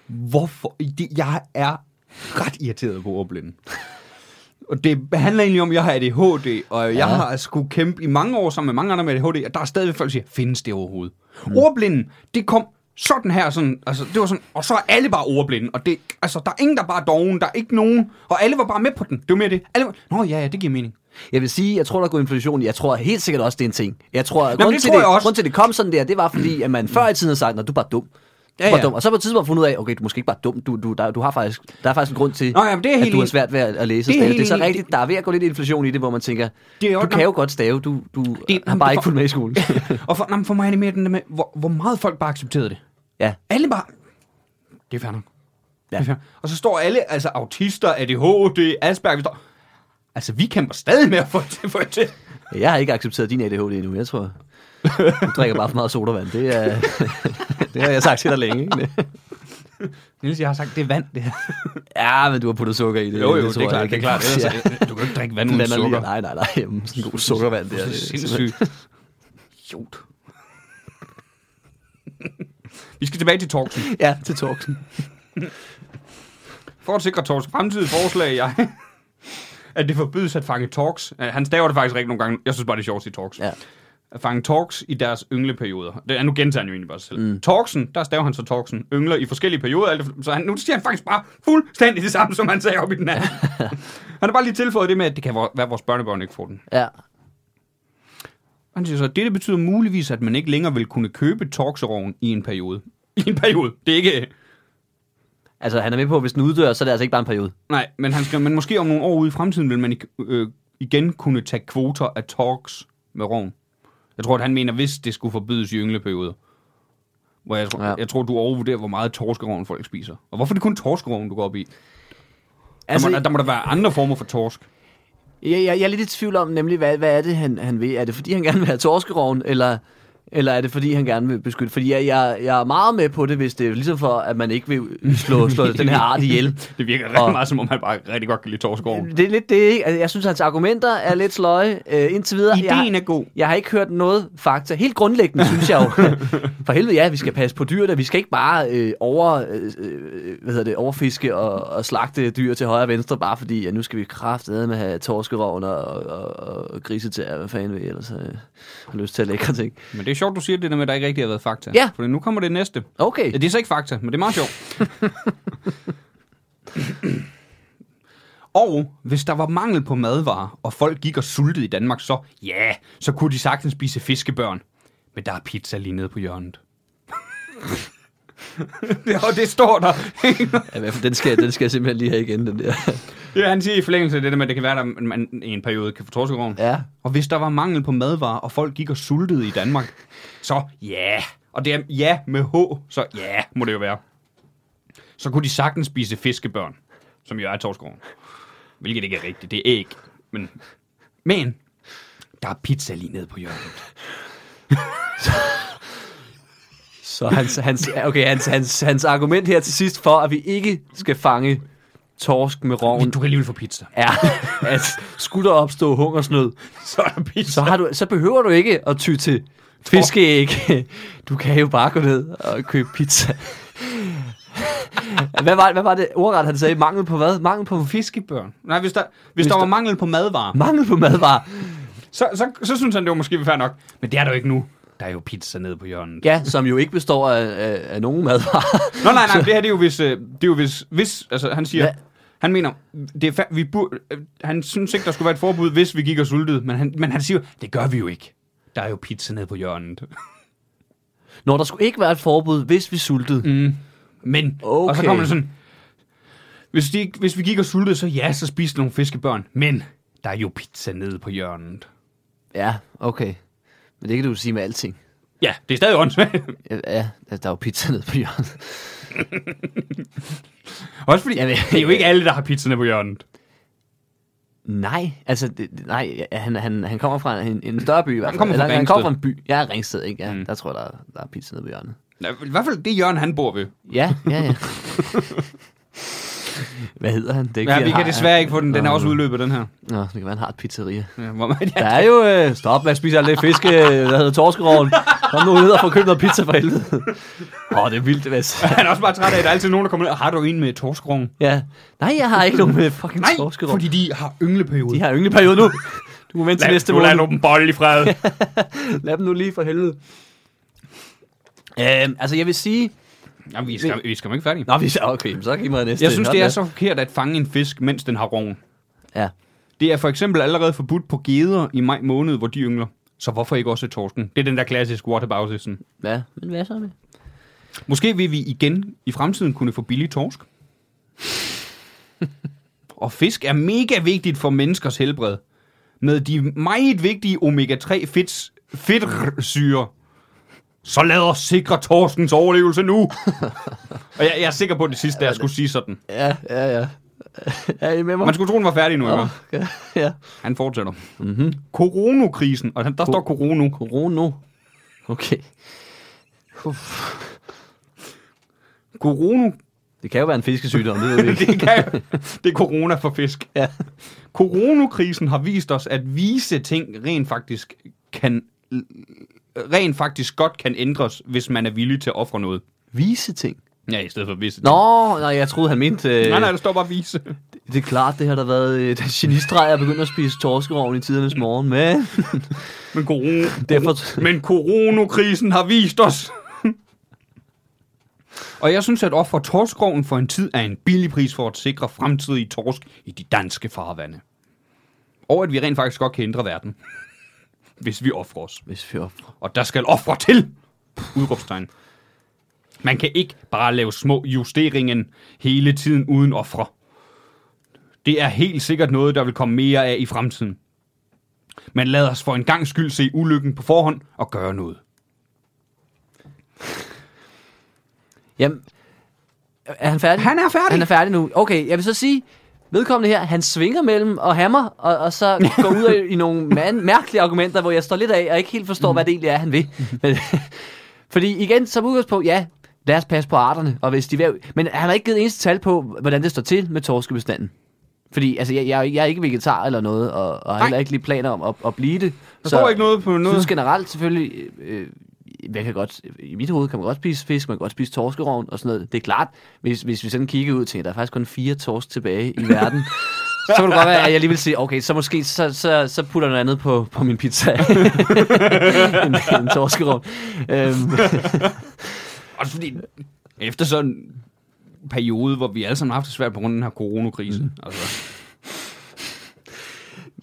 Hvorfor? Det, jeg er ret irriteret på ordblind. Og det handler egentlig om, at jeg har ADHD, og jeg ja.
Ja.
har sgu kæmpe i mange år sammen med mange andre med ADHD, og der er stadigvæk folk, der siger, findes det overhovedet? Mm. Ordblinden, det kom sådan her, sådan, altså, det var sådan, og så er alle bare ordblinde, og det, altså, der er ingen, der bare er doven, der er ikke nogen, og alle var bare med på den, det var mere det. Alle var, Nå ja, ja, det giver mening.
Jeg vil sige, jeg tror, der er gået inflation. i- Jeg tror helt sikkert også, det er en ting. Jeg tror, Nå,
det
til,
tror
det,
jeg også.
grund til, det kom sådan der, det var fordi, at man før i tiden havde sagt, at du er bare dum. Ja, ja.
ja.
dum. Og så på et tidspunkt fundet ud af, okay, du er måske ikke bare dum, du, du, der, du har faktisk, der er faktisk en grund til,
Nå, ja, men det er
at
helt
du har
enig.
svært ved at, at læse
Det er
det er,
helt
det er så
enig.
rigtigt, der er ved at gå lidt inflation i det, hvor man tænker,
Det er jo-
du kan jo godt stave, du, du det, har
jamen,
bare [laughs]
det-
ikke fulgt med i skolen.
[laughs] Og for, nej, men for mig er det mere den der med, hvor, hvor meget folk bare accepterede det.
ja.
Alle bare... Det er fair nok.
Ja.
Det er fair. Og så står alle, altså autister, ADHD, Asperger, vi står... Altså, vi kæmper stadig med at få det, få det til.
Jeg har ikke accepteret din ADHD endnu, jeg tror. Du drikker bare for meget sodavand. Det, er, [laughs] det har jeg sagt til dig længe. ikke?
Niels, jeg har sagt, det er vand, det her.
Ja, men du har puttet sukker i det.
Jo, jo,
tror
det er
jeg
klart,
ikke.
det er klart. Ellers,
Ja.
øh, du kan jo ikke drikke vand uden
blander lige.
sukker.
Nej, nej, nej. Jamen, sådan en god sukkervand der.
Det er sindssygt. [laughs] Idiot. Vi skal tilbage til Torksen.
Ja, til torksen.
For at sikre Torks fremtidige forslag, jeg, [laughs] at det forbydes at fange Torks. Øh, Han staver det faktisk rigtig nogle gange. Jeg synes bare, det er sjovt at sige Torks.
Ja.
At fange Torks i deres yngleperioder. Det, er- nu gentager han jo egentlig bare sig selv. Mm. Torksen, der staver han så Torksen. Yngler i forskellige perioder. alt det- Så han, nu siger han faktisk bare fuldstændig det samme, som han sagde op i den anden. han har bare lige tilføjet det med, at det kan være, at vores børnebørn ikke får den.
Ja.
Han siger så, dette betyder muligvis, at man ikke længere vil kunne købe Torkseroven i en periode. I en periode. Det er ikke...
Altså, han er med på, at hvis den uddør, så er det altså ikke bare en periode.
Nej, men han skriver, men måske om nogle år ude i fremtiden vil man ik- øh, igen kunne tage kvoter af Torks med roven. Jeg tror, at han mener, hvis det skulle forbydes i yngleperioder. Hvor jeg, tror,
Ja.
ja. jeg tror, du overvurderer, hvor meget torskeroven folk spiser. Og hvorfor er det kun torskeroven, du går op i? Altså,
Altså,
der, må, der må der være andre former for torsk.
jeg, jeg, jeg er lidt i tvivl om nemlig, hvad, hvad er det, han, han vil? Er det, fordi han gerne vil have torskeroven, eller, eller er det, fordi han gerne vil beskytte? Fordi jeg, jeg, jeg er meget med på det, hvis det er ligesom for, at man ikke vil slå, slå den her art ihjel.
Det virker rigtig
Og-
og... meget, som om han bare rigtig godt kan lide torskeroven.
Det er lidt det, ikke? Altså, jeg synes, hans argumenter er lidt sløje øh, indtil videre.
Ideen
jeg,
er god.
Jeg har ikke hørt noget fakta. Helt grundlæggende, synes [laughs] jeg jo. For helvede, ja, vi skal passe på dyrene. Vi skal ikke bare øh, over, øh, øh, hvad hedder det, overfiske og, og slagte dyr til højre og venstre, bare fordi, ja, nu skal vi kraftedeme have torskerovn og, og, og, og grise til, hvad fanden vi ellers øh, har lyst til at lækre ting.
Men det er sjovt, du siger det der med, at der ikke rigtig har været fakta.
Ja.
For nu kommer det næste.
Okay.
Ja, det er så ikke fakta, men det er meget sjovt. og hvis der var mangel på madvarer, og folk gik og sultede i Danmark, så ja, så kunne de sagtens spise fiskebørn. Men der er pizza lige nede på hjørnet. [laughs] ja, og det står der. [laughs]
Ja, i hvert fald, den skal, den skal jeg simpelthen lige have igen, den der.
ja, han siger i forlængelse af det der med, at det kan være, at man i en periode kan få torskeroven.
Ja.
Og hvis der var mangel på madvarer, og folk gik og sultede i Danmark, så ja. Og det er ja med H, så ja, må det jo være. Så kunne de sagtens spise fiskebørn, som jo er torskoven. Hvilket ikke er rigtigt, det er æg. Men, men der er pizza lige nede på hjørnet.
Så hans, hans, okay, hans, hans, hans argument her til sidst for, at vi ikke skal fange torsk med roven,
Men du kan alligevel få pizza.
er, at skulle der opstå hungersnød,
Så er der pizza.
så, har du, så behøver du ikke at ty til fiskeæg. [laughs] Du kan jo bare gå ned og købe pizza. [laughs] Hvad var, hvad var det ordret, han sagde? Mangel på hvad? Mangel på fisk?
Fiskebørn. Nej, hvis der, hvis, hvis der, var
der-
mangel på madvarer,
Mangel på madvarer.
så, så, så synes han, det var måske fair nok. Men det er der jo ikke nu. Der er jo pizza nede på hjørnet.
Ja, som jo ikke består af, af, af nogen madvarer. [laughs]
Nå nej, nej, det her det er jo hvis, øh, det er jo hvis, hvis altså han siger,
Ja.
ja. han mener, det er fa- vi bur- øh, han synes ikke, der skulle være et forbud, hvis vi gik og sultede, men han, men han siger, det gør vi jo ikke. Der er jo pizza nede på hjørnet. [laughs]
Når der skulle ikke være et forbud, hvis vi sultede. Mm.
Men,
Okay.
okay. og så kommer det sådan, hvis, de, ikke- hvis vi gik og sultede, så ja, så spiste nogle fiskebørn, men der er jo pizza nede på hjørnet.
Ja, okay. Men det kan du jo sige med alting.
Ja, det er stadig åndssvagt.
Ja, Ja, altså, der er jo pizza nede på hjørnet.
[laughs] Også fordi,
Jamen,
det er jo ikke alle, der har pizza nede på hjørnet.
Nej, altså, det, det- nej, han, han, han kommer fra en, en større by i hvert fald.
kommer fra
Eller han
Ringsted.
kommer fra en by. Jeg er Ringsted, ikke? Ja, mm.
Mm.
Der tror jeg, der, er- der er pizza nede på hjørnet.
Nå, I hvert fald det hjørne, han bor ved.
Ja, ja, ja. Hvad hedder han? Det er ikke,
Ja,
fordi,
vi
han
kan
har-
desværre ikke få den. Den er
Nå,
også udløbet, den her.
Nå, det kan være, han har et pizzeria.
[laughs] Ja, hvor man,
Der er jo... Øh, stop, man spiser lidt fiske,
øh,
der hedder torskeroven. Kom nu ned og få købt noget pizza for helvede. Åh, oh, det er vildt,
[laughs]
Mads.
Han er også bare træt af, at der er altid nogen, der kommer ned. og Har du en med torskrong?
Ja. Nej, jeg har ikke nogen med fucking
Nej,
torskeroven.
fordi de har yngleperiode.
De har yngleperiode nu. Du må vente til næste
du
måned.
lader nu dem bolle i
[laughs]
fred.
Lad dem nu lige for helvede. Øhm, altså, jeg vil sige...
Jamen, vi skal, vi skal ikke færdige.
Nå, vi... okay, så giv mig næste.
Jeg synes,
Nå,
det er
lad-
så forkert at fange en fisk, mens den har roen.
Ja.
Det er for eksempel allerede forbudt på geder i maj måned, hvor de yngler. Så hvorfor ikke også torsken? Det er den der klassiske whataboutism.
Ja, men hvad så med?
Måske vil vi igen i fremtiden kunne få billig torsk. og fisk er mega vigtigt for menneskers helbred. Med de meget vigtige omega-3 fedts, fedtsyre. Så lad os sikre torskens overlevelse nu. og jeg, jeg, er sikker på at det sidste, da jeg skulle sige sådan.
Ja, ja, [laughs] ja. er I med mig?
Man skulle tro, den var færdig nu. Oh.
Okay. ja. Mhm.
Han fortsætter. Mm-hmm. Coronakrisen. Og han- der står corona.
Corona. Okay.
Corona.
Det kan jo være en fiskesygdom, det ved vi
[laughs]
ikke.
Det, kan, det er corona for fisk.
ja.
Coronakrisen har vist os, at vise ting rent faktisk kan rent faktisk godt kan ændres, hvis man er villig til at ofre noget.
[laughs] Vise ting.
Ja, i stedet for vise ting.
Nå, nej, jeg troede, han mente... Øh,
Nej, nej, der står bare vise.
Det er klart, det har der været øh, den genistreg, jeg begyndte at spise torskerovn i tidernes morgen, [laughs] men
Men, corona,
derfor...
men coronakrisen har vist os. Og jeg synes, at ofre torskroven for en tid er en billig pris for at sikre fremtidige torsk i de danske farvande. Og at vi rent faktisk godt kan ændre verden, hvis vi offrer os.
[laughs] Hvis vi op-
og der skal ofre til! Udråbstegn. Man kan ikke bare lave små justeringen hele tiden uden ofre. Det er helt sikkert noget, der vil komme mere af i fremtiden. Men lad os for en gang skyld se ulykken på forhånd og gøre noget.
Jamen, er han færdig?
Han er færdig.
Han er færdig nu. Okay, jeg vil så sige, vedkommende her, han svinger mellem og hammer, og, og så går ud af, i nogle man, mærkelige argumenter, hvor jeg står lidt af og ikke helt forstår, hvad det egentlig er, han vil. Men, [laughs] fordi igen, som udgangspunkt, ja, lad os passe på arterne. Og hvis de vil, men han har ikke givet eneste tal på, hvordan det står til med torskebestanden. Fordi altså, jeg, jeg, er jo ikke- jeg er ikke vegetar eller noget, og, og har heller ikke lige planer om at, at blive det.
Der står ikke noget på
Jeg
noget.
synes generelt selvfølgelig, øh, øh, jeg kan godt, i mit hoved kan man godt spise fisk, man kan godt spise torskerovn og sådan noget. Det er klart, hvis, hvis vi sådan kigger ud til, at der er faktisk kun fire torsk tilbage i verden, så kunne det godt være, at jeg lige vil sige, okay, så måske så, så, så putter jeg noget andet på, på min pizza. [laughs] en, en torskerovn. Øhm,
Også fordi, efter sådan en periode, hvor vi alle sammen har haft det svært på grund af den her coronakrise, mm. altså,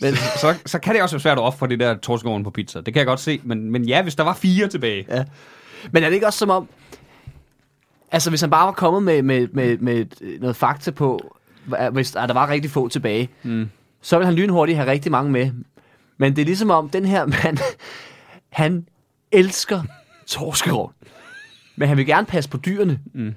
men,
så, så kan det også være svært at ofre det der torskoven på pizza. Det kan jeg godt se, men, men ja, hvis der var fire tilbage. [laughs] Ja.
men er det ikke også som om, altså hvis han bare var kommet med, med, med, med et- noget fakta på, hva- hvis ah, der var rigtig få tilbage, mm. så ville han lynhurtigt have rigtig mange med. Men det er ligesom om, den her mand, han elsker torskerov. Men han vil gerne passe på dyrene. Mm.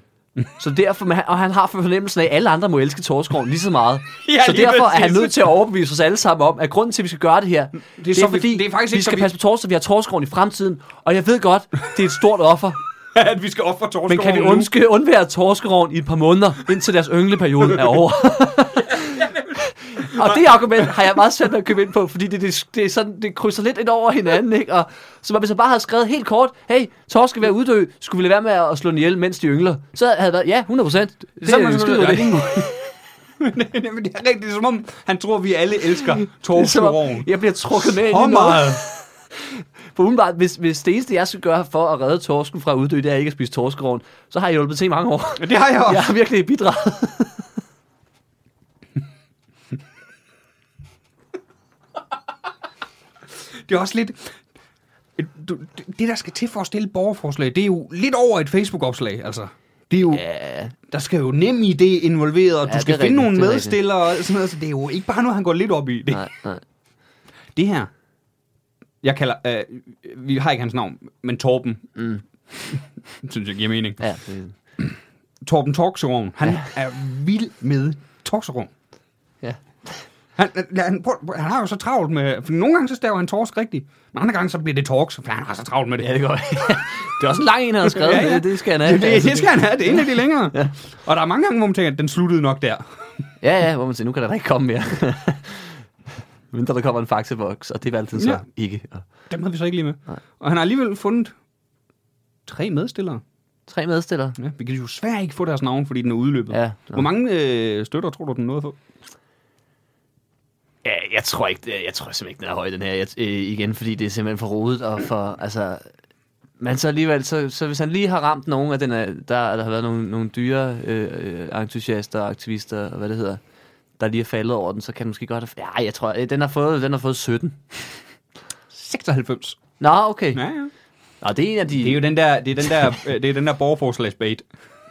Så derfor, men han- og han har fornemmelsen af, at alle andre må elske torskroven lige så [laughs] meget.
Ja,
så
lige
derfor er han
præcis.
nødt til at overbevise os alle sammen om, at grunden til, at vi skal gøre det her, det er, det
så
er
vi-
fordi,
det er faktisk
vi
ikke så
skal
vi-
passe på torsk, så vi har torskroven i fremtiden. Og jeg ved godt, det er et stort
[laughs]
offer,
At vi skal ofre torskoven
men kan vi
nu.
undske, undvære torskeroven i et par måneder, indtil deres yngleperiode er
[laughs]
over? og det argument har jeg meget svært ved at købe ind på, fordi det, det, det, er sådan, det krydser lidt ind over hinanden. Ikke? Og, så hvis jeg bare havde skrevet helt kort, hey, torske ved at uddø, skulle vi lade være med at slå den ihjel, mens de yngler? Så havde jeg været, ja, 100 procent. Det
Så er
er
man
en skide
sådan-
god idé.
[laughs] Jamen, det er rigtigt, det er som om, han tror, vi alle elsker
[laughs] [laughs] Det er som om,
torskroven.
Jeg bliver trukket med ind i
Hvor
noget.
meget?
For umiddelbart, hvis, hvis det eneste, jeg skal gøre for at redde torsken fra at uddø, det er ikke at spise torskeroven, så har jeg hjulpet til i mange år.
Ja, Det har jeg også.
Jeg har virkelig bidraget.
Det er også lidt... Du, det, der skal til for at stille borgerforslag, det er jo lidt over et Facebook-opslag, altså. Det er jo, ja.
Ja,
der skal jo nem idé involveret, og
Ja,
ja, du skal
det er
finde nogle
rigtigt, det er
medstillere og sådan noget, så det er jo ikke bare noget, han går lidt op i. Det,
nej, nej.
det her, jeg kalder, øh, vi har ikke hans navn, men Torben, mm. [laughs] synes jeg giver mening.
Ja, det,
Torben Torkseroven, han ja. er vild med Torkseroven.
ja.
Han, han, han, prøv, prøv, han har jo så travlt med... For nogle gange så staver han torsk rigtigt, men andre gange så bliver det torks, for han har så travlt med det.
ja, det går. [laughs] det er også en lang en, han har skrevet.
Ja, ja.
Det, det skal han have.
det, det, det skal han have, det er en af de længere. ja. Og der er mange gange, hvor man tænker, at den sluttede nok der.
Ja, ja, hvor man siger, nu kan der da ikke komme [laughs] mere. Men der kommer en faxeboks, og det var altid så
Ja.
ikke. Og
Dem havde vi så ikke lige med. Nej. Og han har alligevel fundet tre medstillere.
tre medstillere.
Ja, vi kan jo svært ikke få deres navn, fordi den er udløbet.
Ja, nå.
Hvor mange øh, støtter tror du, den nåede at få?
Ja, jeg tror ikke, jeg tror simpelthen ikke, den er høj, den her. Jeg, øh, igen, fordi det er simpelthen for rodet og for, altså... Men så alligevel, så, så hvis han lige har ramt nogen af den er, der, der har været nogle, nogle dyre øh, øh, entusiaster og aktivister, og hvad det hedder, der lige er faldet over den, så kan den måske godt have... Ja, jeg tror, øh, den har fået, den har fået 17.
96.
Nå, okay.
Ja, ja.
Nå, det er en af de...
Det er jo den der, det er den [laughs] der, øh, det er den der borgerforslagsbait.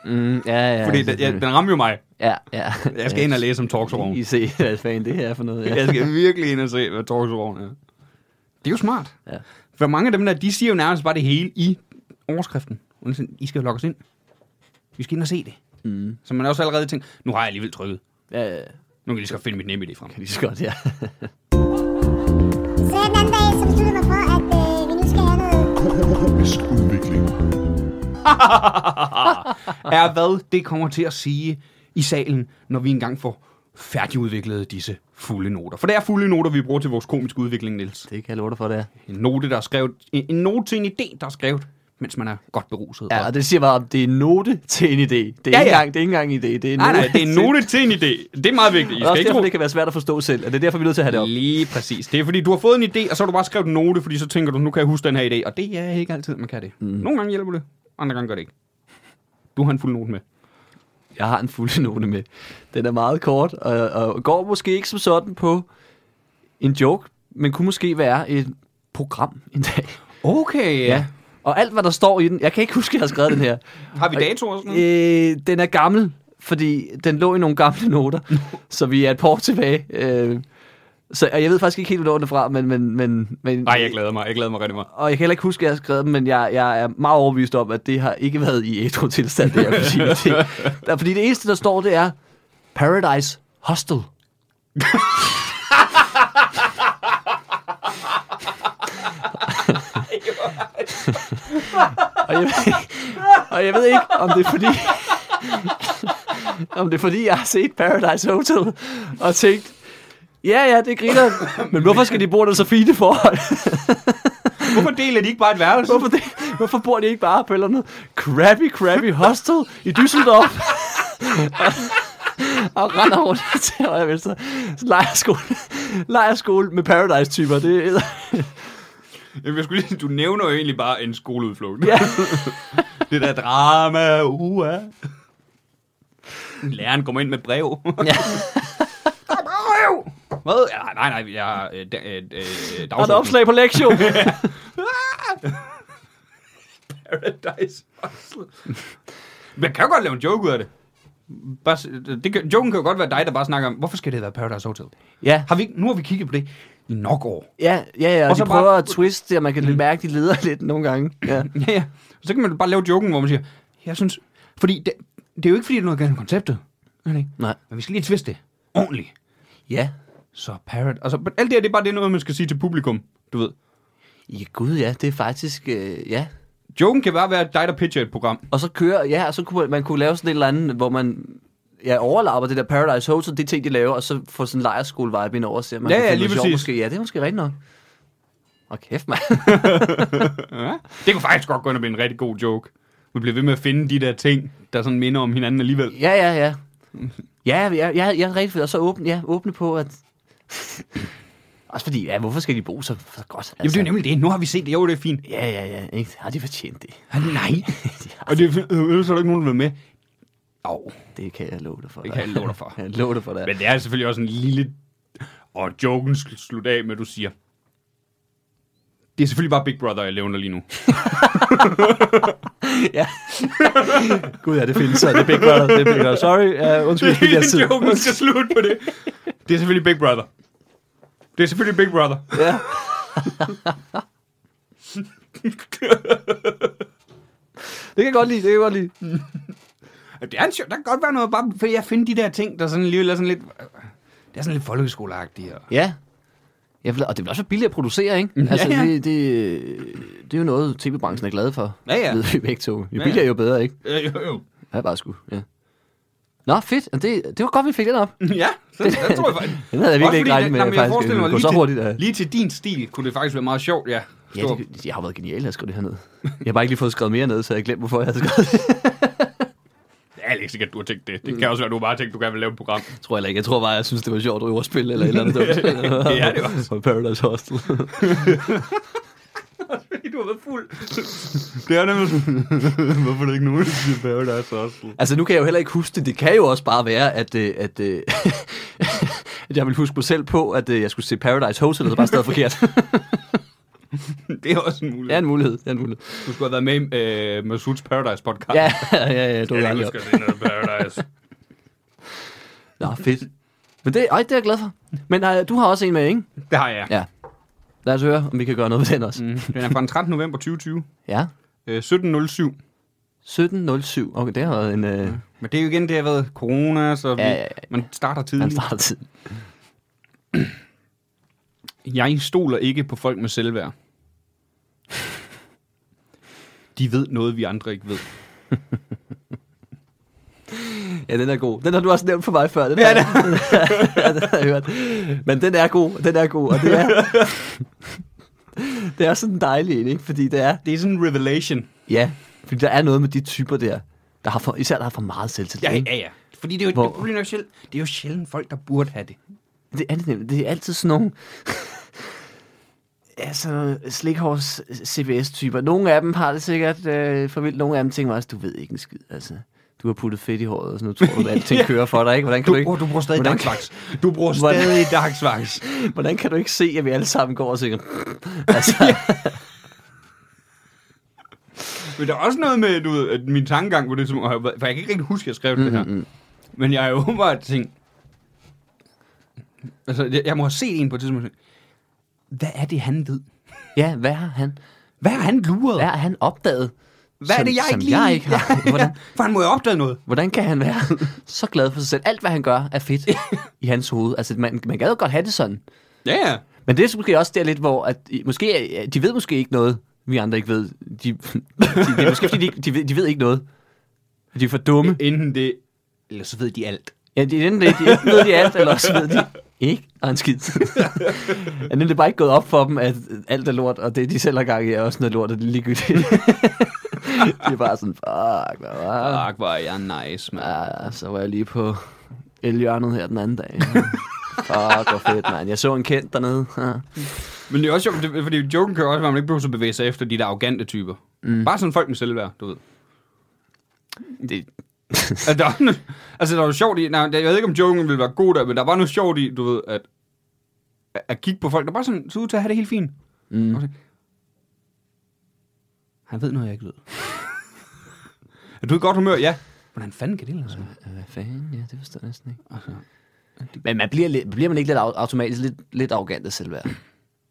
Mm, ja, ja,
Fordi den, ja, den rammer jo mig.
ja, ja.
Jeg skal
[laughs]
ind og læse om Torxorovn.
I se, hvad fanden det her er for noget.
[laughs]
Ja.
Jeg skal virkelig ind og se, hvad Torxorovn er. Det er jo smart.
Ja.
For mange af dem der, de siger jo nærmest bare det hele i overskriften. Og det er sådan, I skal jo logge os ind. Vi skal ind og se det.
Mm.
Så man også allerede tænkt, nu har jeg alligevel trykket.
Ja, ja, ja.
Nu kan jeg lige så godt finde mit nemme idé frem.
Lige så godt, ja. [laughs]
Så den anden dag, så besluttede jeg mig for, at øh, vi nu skal have noget
Komisk udvikling.
[laughs] er, hvad det kommer til at sige i salen, når vi engang får færdigudviklet disse fulde noter. For det er fulde noter, vi bruger til vores komiske udvikling, Niels.
Det kan jeg love dig for, det er.
En note, der er skrevet, en, en note til en idé, der er skrevet, mens man er godt beruset.
Ja,
Og-
og det siger bare, at det er en note til en idé. Det er,
Ja,
ja, ikke,
ja.
engang, det er ikke engang en idé. Det er en
nej,
note
nej, det er en
til-
note til en idé. Det er meget vigtigt. I
Og det er
skal
også
ikke
derfor,
tro.
det kan være svært at forstå selv, og det er derfor, vi er nødt til at have det op.
Lige præcis. Det er fordi, du har fået en idé, og så har du bare skrevet en note, fordi så tænker du, nu kan jeg huske den her idé. Og det er ikke altid, man kan det. Mm. Nogle gange hjælper det, andre gange gør det ikke. Du har en fuld note med.
Jeg har en
[laughs]
fuld note med. Den er meget kort, og, og går måske ikke som sådan på en joke, men kunne måske være et program en dag.
Okay,
Og alt, hvad der står i den, jeg kan ikke huske, at jeg har skrevet den
[laughs]
her.
Har vi datoer og sådan noget?
Øh, den er gammel, fordi den lå i nogle gamle
[laughs]
noter, så vi er et par år tilbage. Øh, så, og jeg ved faktisk ikke helt, hvor den er fra, men... men, men, men
Nej, jeg glæder mig. Jeg glæder mig rigtig meget.
Og jeg kan heller ikke huske, at jeg har skrevet dem, men jeg, jeg er meget overbevist om, at det har ikke været i ædru tilstand, det jeg vil sige. Det, der, fordi det eneste, der står, det er Paradise Hostel. og, jeg, og jeg ved ikke, om det er fordi... om det er fordi, jeg har set Paradise Hotel og tænkt, ja, ja, det griner, men hvorfor skal de bo under så fine forhold?
Hvorfor deler de ikke bare et værelse?
Hvorfor, det, hvorfor bor de ikke bare på et eller andet Krabby Krabby Hostel i Düsseldorf? og render rundt til højre og venstre. Lejerskole. Lejerskole med Paradise-typer. Det er
Jamen, jeg skulle lige, du nævner jo egentlig bare en skoleudflugt.
Ja.
det der drama, uha. Læreren kommer ind med et brev.
ja.
brev! Hvad? Ja, nej, nej, jeg har øh, da- øh, øh,
Og et opslag på Lektio.
Paradise Hustle. Man kan jo godt lave en joke ud af det. Bare, s- det kan, joken kan jo godt være dig, der bare snakker om, hvorfor skal det være Paradise Hotel?
ja.
Har vi, ikke- nu har vi kigget på det i nok år.
Ja, ja, ja.
Og
Og
så
de prøver
bare-
at twiste det, og man kan mærke, at de leder lidt nogle gange. Ja.
Ja, ja. Så kan man bare lave joken, hvor man siger, jeg synes... Fordi det, det er jo ikke, fordi det er noget galt med konceptet. Er det ikke?
Nej.
Men vi skal lige twiste det ordentligt.
Ja.
Så parrot. Altså, men alt det her, det er bare det er noget, man skal sige til publikum, du ved.
Ja, gud ja. Det er faktisk... Øh, ja.
Joken kan bare være dig, der pitcher et program.
Og så kører, ja, og så kunne man, man kunne lave sådan et eller andet, hvor man ja, overlapper det der Paradise Hotel, det ting, de laver, og så får sådan en lejerskole-vibe ind over, og ser, man
Ja,
kan
ja,
finde
lige
noget
præcis.
sjovt Måske. Ja, det er måske rigtigt nok. Og kæft, mand. [laughs]
Ja. Det kunne faktisk godt gå ind og blive en rigtig god joke. Vi bliver ved med at finde de der ting, der sådan minder om hinanden alligevel.
ja, ja, ja. Ja, ja, ja, jeg er rigtig fedt. Og så åbne, ja, åbne på, at... [laughs] Også fordi, ja, hvorfor skal de bo så, så godt? Altså,
Jamen, det er jo nemlig det. Nu har vi set det. Jo, det er fint.
Ja, ja, ja. Ikke? Har de fortjent det? [laughs]
Ah, nej.
De har,
Og det er fint. Øh, Ellers er der ikke nogen, der vil med. Au.
det kan jeg love dig for.
Det kan jeg love dig for.
[laughs] jeg love dig for det.
Men det er selvfølgelig også en lille... Og joken skal slutte af med, at du siger... Det er selvfølgelig bare Big Brother, jeg nævner lige nu.
Ja. Gud, ja, det findes så. Det er Big Brother. Det er Big Brother. Sorry. Uh, undskyld.
Det
jeg
er
tid.
joken skal slutte på det. Det er selvfølgelig Big Brother. Det er selvfølgelig Big Brother.
Ja. det kan jeg godt lide, det kan jeg godt lide.
Det er en sjov. Der kan godt være noget, bare fordi jeg finder de der ting, der sådan alligevel er sådan lidt... Det er sådan lidt folkeskoleagtigt. Og...
Ja. ja for- og det bliver også billigt at producere, ikke? Altså,
ja.
Det, det, det er jo noget, tv-branchen er glad for.
Ja, ja.
Ved vi begge to. Jo
ja.
billigere, jo bedre, ikke?
Øh, jo, jo.
Ja, bare sgu, ja. Nå, fedt. Og Det, det var godt, vi fik den [laughs] op.
Ja, så, det, tror jeg faktisk.
Den havde jeg
Også
virkelig
fordi
ikke regnet med,
jamen, jeg
faktisk.
forestiller
Det
mig,
går
lige,
så hurtigt.
til,
At...
lige til din stil kunne det faktisk være meget sjovt, ja.
Ja,
Stor-
det, jeg har været genial, at jeg skrev det her ned. [laughs] Jeg har bare ikke lige fået skrevet mere ned, så jeg glemte, hvorfor jeg havde skrevet det.
Det er ikke sikkert, du har tænkt det. Det kan også være, du har bare tænkt, du gerne vil lave et program.
Jeg tror heller ikke. Jeg tror bare, jeg synes, det var sjovt at ordspil [laughs] eller et eller andet dumt.
Det er det
også. Paradise Hostel.
du har været fuld. det er nemlig sådan, hvorfor er det ikke nogen, der siger Paradise Hustle?
Altså, nu kan jeg jo heller ikke huske det. Det kan jo også bare være, at, øh, at, øh, [laughs] at jeg ville huske mig selv på, at øh, jeg skulle se Paradise Hotel, og så bare [laughs] stadig forkert.
Det er også en
det
mulighed.
er en mulighed. Det er en mulighed.
Du skulle have været med i øh, Masuds Paradise podcast.
Ja, ja, ja, du
jeg
er
elsker det, når Paradise.
Nå, fedt. Men det, ej, det er jeg glad for. Men øh, du har også en med, ikke?
Det har jeg.
Ja. Lad os høre, om vi kan gøre noget ved den også. Mm.
Mm, Den er fra den 13. november 2020.
Ja.
Øh, 1707.
17.07. Okay, det har været en... Øh,
Men det er jo igen, det har været corona, så vi,
Ja, ja, ja.
man starter
man
tidligt.
starter tid.
Jeg stoler ikke på folk med selvværd. De ved noget, vi andre ikke ved.
Ja, den er god. Den har du også nævnt for mig før. Den ja, den. [laughs] ja, den har jeg hørt. Men den er god, den er god, og det er... [laughs] det er sådan en dejlig en, ikke? Fordi det er...
Det er sådan en revelation.
Ja, fordi der er noget med de typer der, der har for, især der har for meget selvtillid.
Ja,
ikke?
ja, ja. Fordi det er jo,
Hvor-
det, problemet er jo sjældent, det er jo sjældent folk, der burde have det.
Det er det nemlig. Det er altid sådan nogle... [laughs] altså, slikhårs CBS-typer. Nogle af dem har det sikkert øh, for vildt. Nogle af dem tænker mig også, du ved ikke en skid, altså. Du har puttet fedt i håret, og så nu tror du, at
[laughs]
alting kører for dig, ikke? Hvordan kan du,
Du
ikke,
bruger, du bruger stadig
hvordan-
dagsvaks. Du bruger
Hvordan-
stadig dagsvaks.
hvordan kan du ikke se, at vi alle sammen går og tænker... [laughs] altså,
Men der er også noget med, du ved, at min tankegang på det, som, for jeg kan ikke rigtig huske, at jeg skrev det her. Men jeg er jo bare tænkt, altså, jeg, jeg må have set en på et tidspunkt, og tænkt, hvad er det, han ved?
ja, hvad har han,
Hvad har han luret?
hvad har han opdaget?
Hvad er
som,
det, jeg
som
ikke lige...
jeg ikke [laughs] har?
[laughs] Ja,
Hvordan,
ja, for han må jo opdage noget.
Hvordan kan han være [laughs] så glad for sig selv? Alt, hvad han gør, er fedt i hans hoved. Altså, man, man kan jo godt have det sådan.
Ja, ja.
Men det er så måske også der lidt, hvor at, i- måske, øh, de ved måske ikke noget, vi andre ikke ved. De, [laughs] de, det er måske, fordi de, ikke- de, ved, de ved ikke noget. De er for dumme.
Enten det... Eller så ved de alt.
Ja, de, enten, det- de, enten ved de alt, eller også ved de ikke. Og
[laughs]
en skid. ja, det er det bare ikke gået op for dem, at alt er lort, og det, de selv har gang i, er også noget lort, og det er ligegyldigt. [laughs] de er bare sådan, fuck, hvad var det?"
Fuck, hvor er jeg nice, mand.
Ja, så var jeg lige på elhjørnet her den anden
[laughs]
dag. Fuck, hvor fedt, mand. Jeg så en kendt dernede. Ah. Ja.
Men det er også sjovt, det- fordi joken kan også være, at man ikke behøver så bevæge sig efter de der arrogante typer. Mm. Bare sådan folk med selvværd, du ved.
Det,
Altså, der, er, altså, der er jo sjovt i... Nej, jeg ved ikke, om joken ville være god der, men der var noget sjovt i, du ved, at, at kigge på folk, der bare sådan så ud til at have det helt fint. Mm. Han ved noget, jeg ikke ved. [laughs] er du i godt humør? Ja. Hvordan fanden kan det lade sig? gøre?
øh, Hvad fanden? Ja, det forstår jeg næsten ikke. Men man bliver, lidt, bliver man ikke lidt au- automatisk lidt, lidt arrogant af selvværd?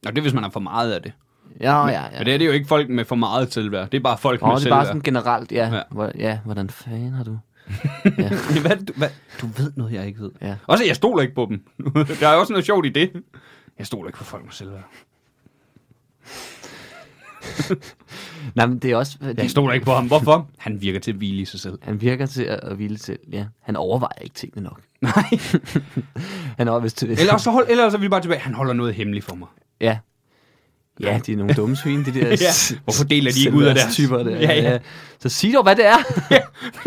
Nå, det er, hvis man har for meget af det.
Ja, ja,
Ja.
ja.
Men det er det jo ikke folk med for meget selvværd. Det er bare folk med
Åh, det er
selvværd.
bare sådan generelt, ja.
Ja.
Ja, Hvor, ja hvordan fanden har du?
[laughs] hvad, er det, du, hvad, du ved noget, jeg ikke ved.
Ja.
Også, jeg stoler ikke på dem. [laughs] der er også noget sjovt i det. Jeg stoler ikke på folk med selvværd.
Nej, men det er også... Fordi,
Jeg stoler ikke på ham. Hvorfor? Han virker til at hvile i sig selv.
Han virker til at, at hvile til, ja. Han overvejer ikke tingene nok.
[laughs] Nej.
Han er vist til...
Eller så, hold, eller så er vi bare tilbage. Han holder noget hemmeligt for mig. [laughs]
[laughs] Ja. Ja, de er nogle dumme svin, de der...
Ja. Hvorfor deler de ikke ud af deres-
typer der?
Ja, ja.
Så sig dog, hvad det er.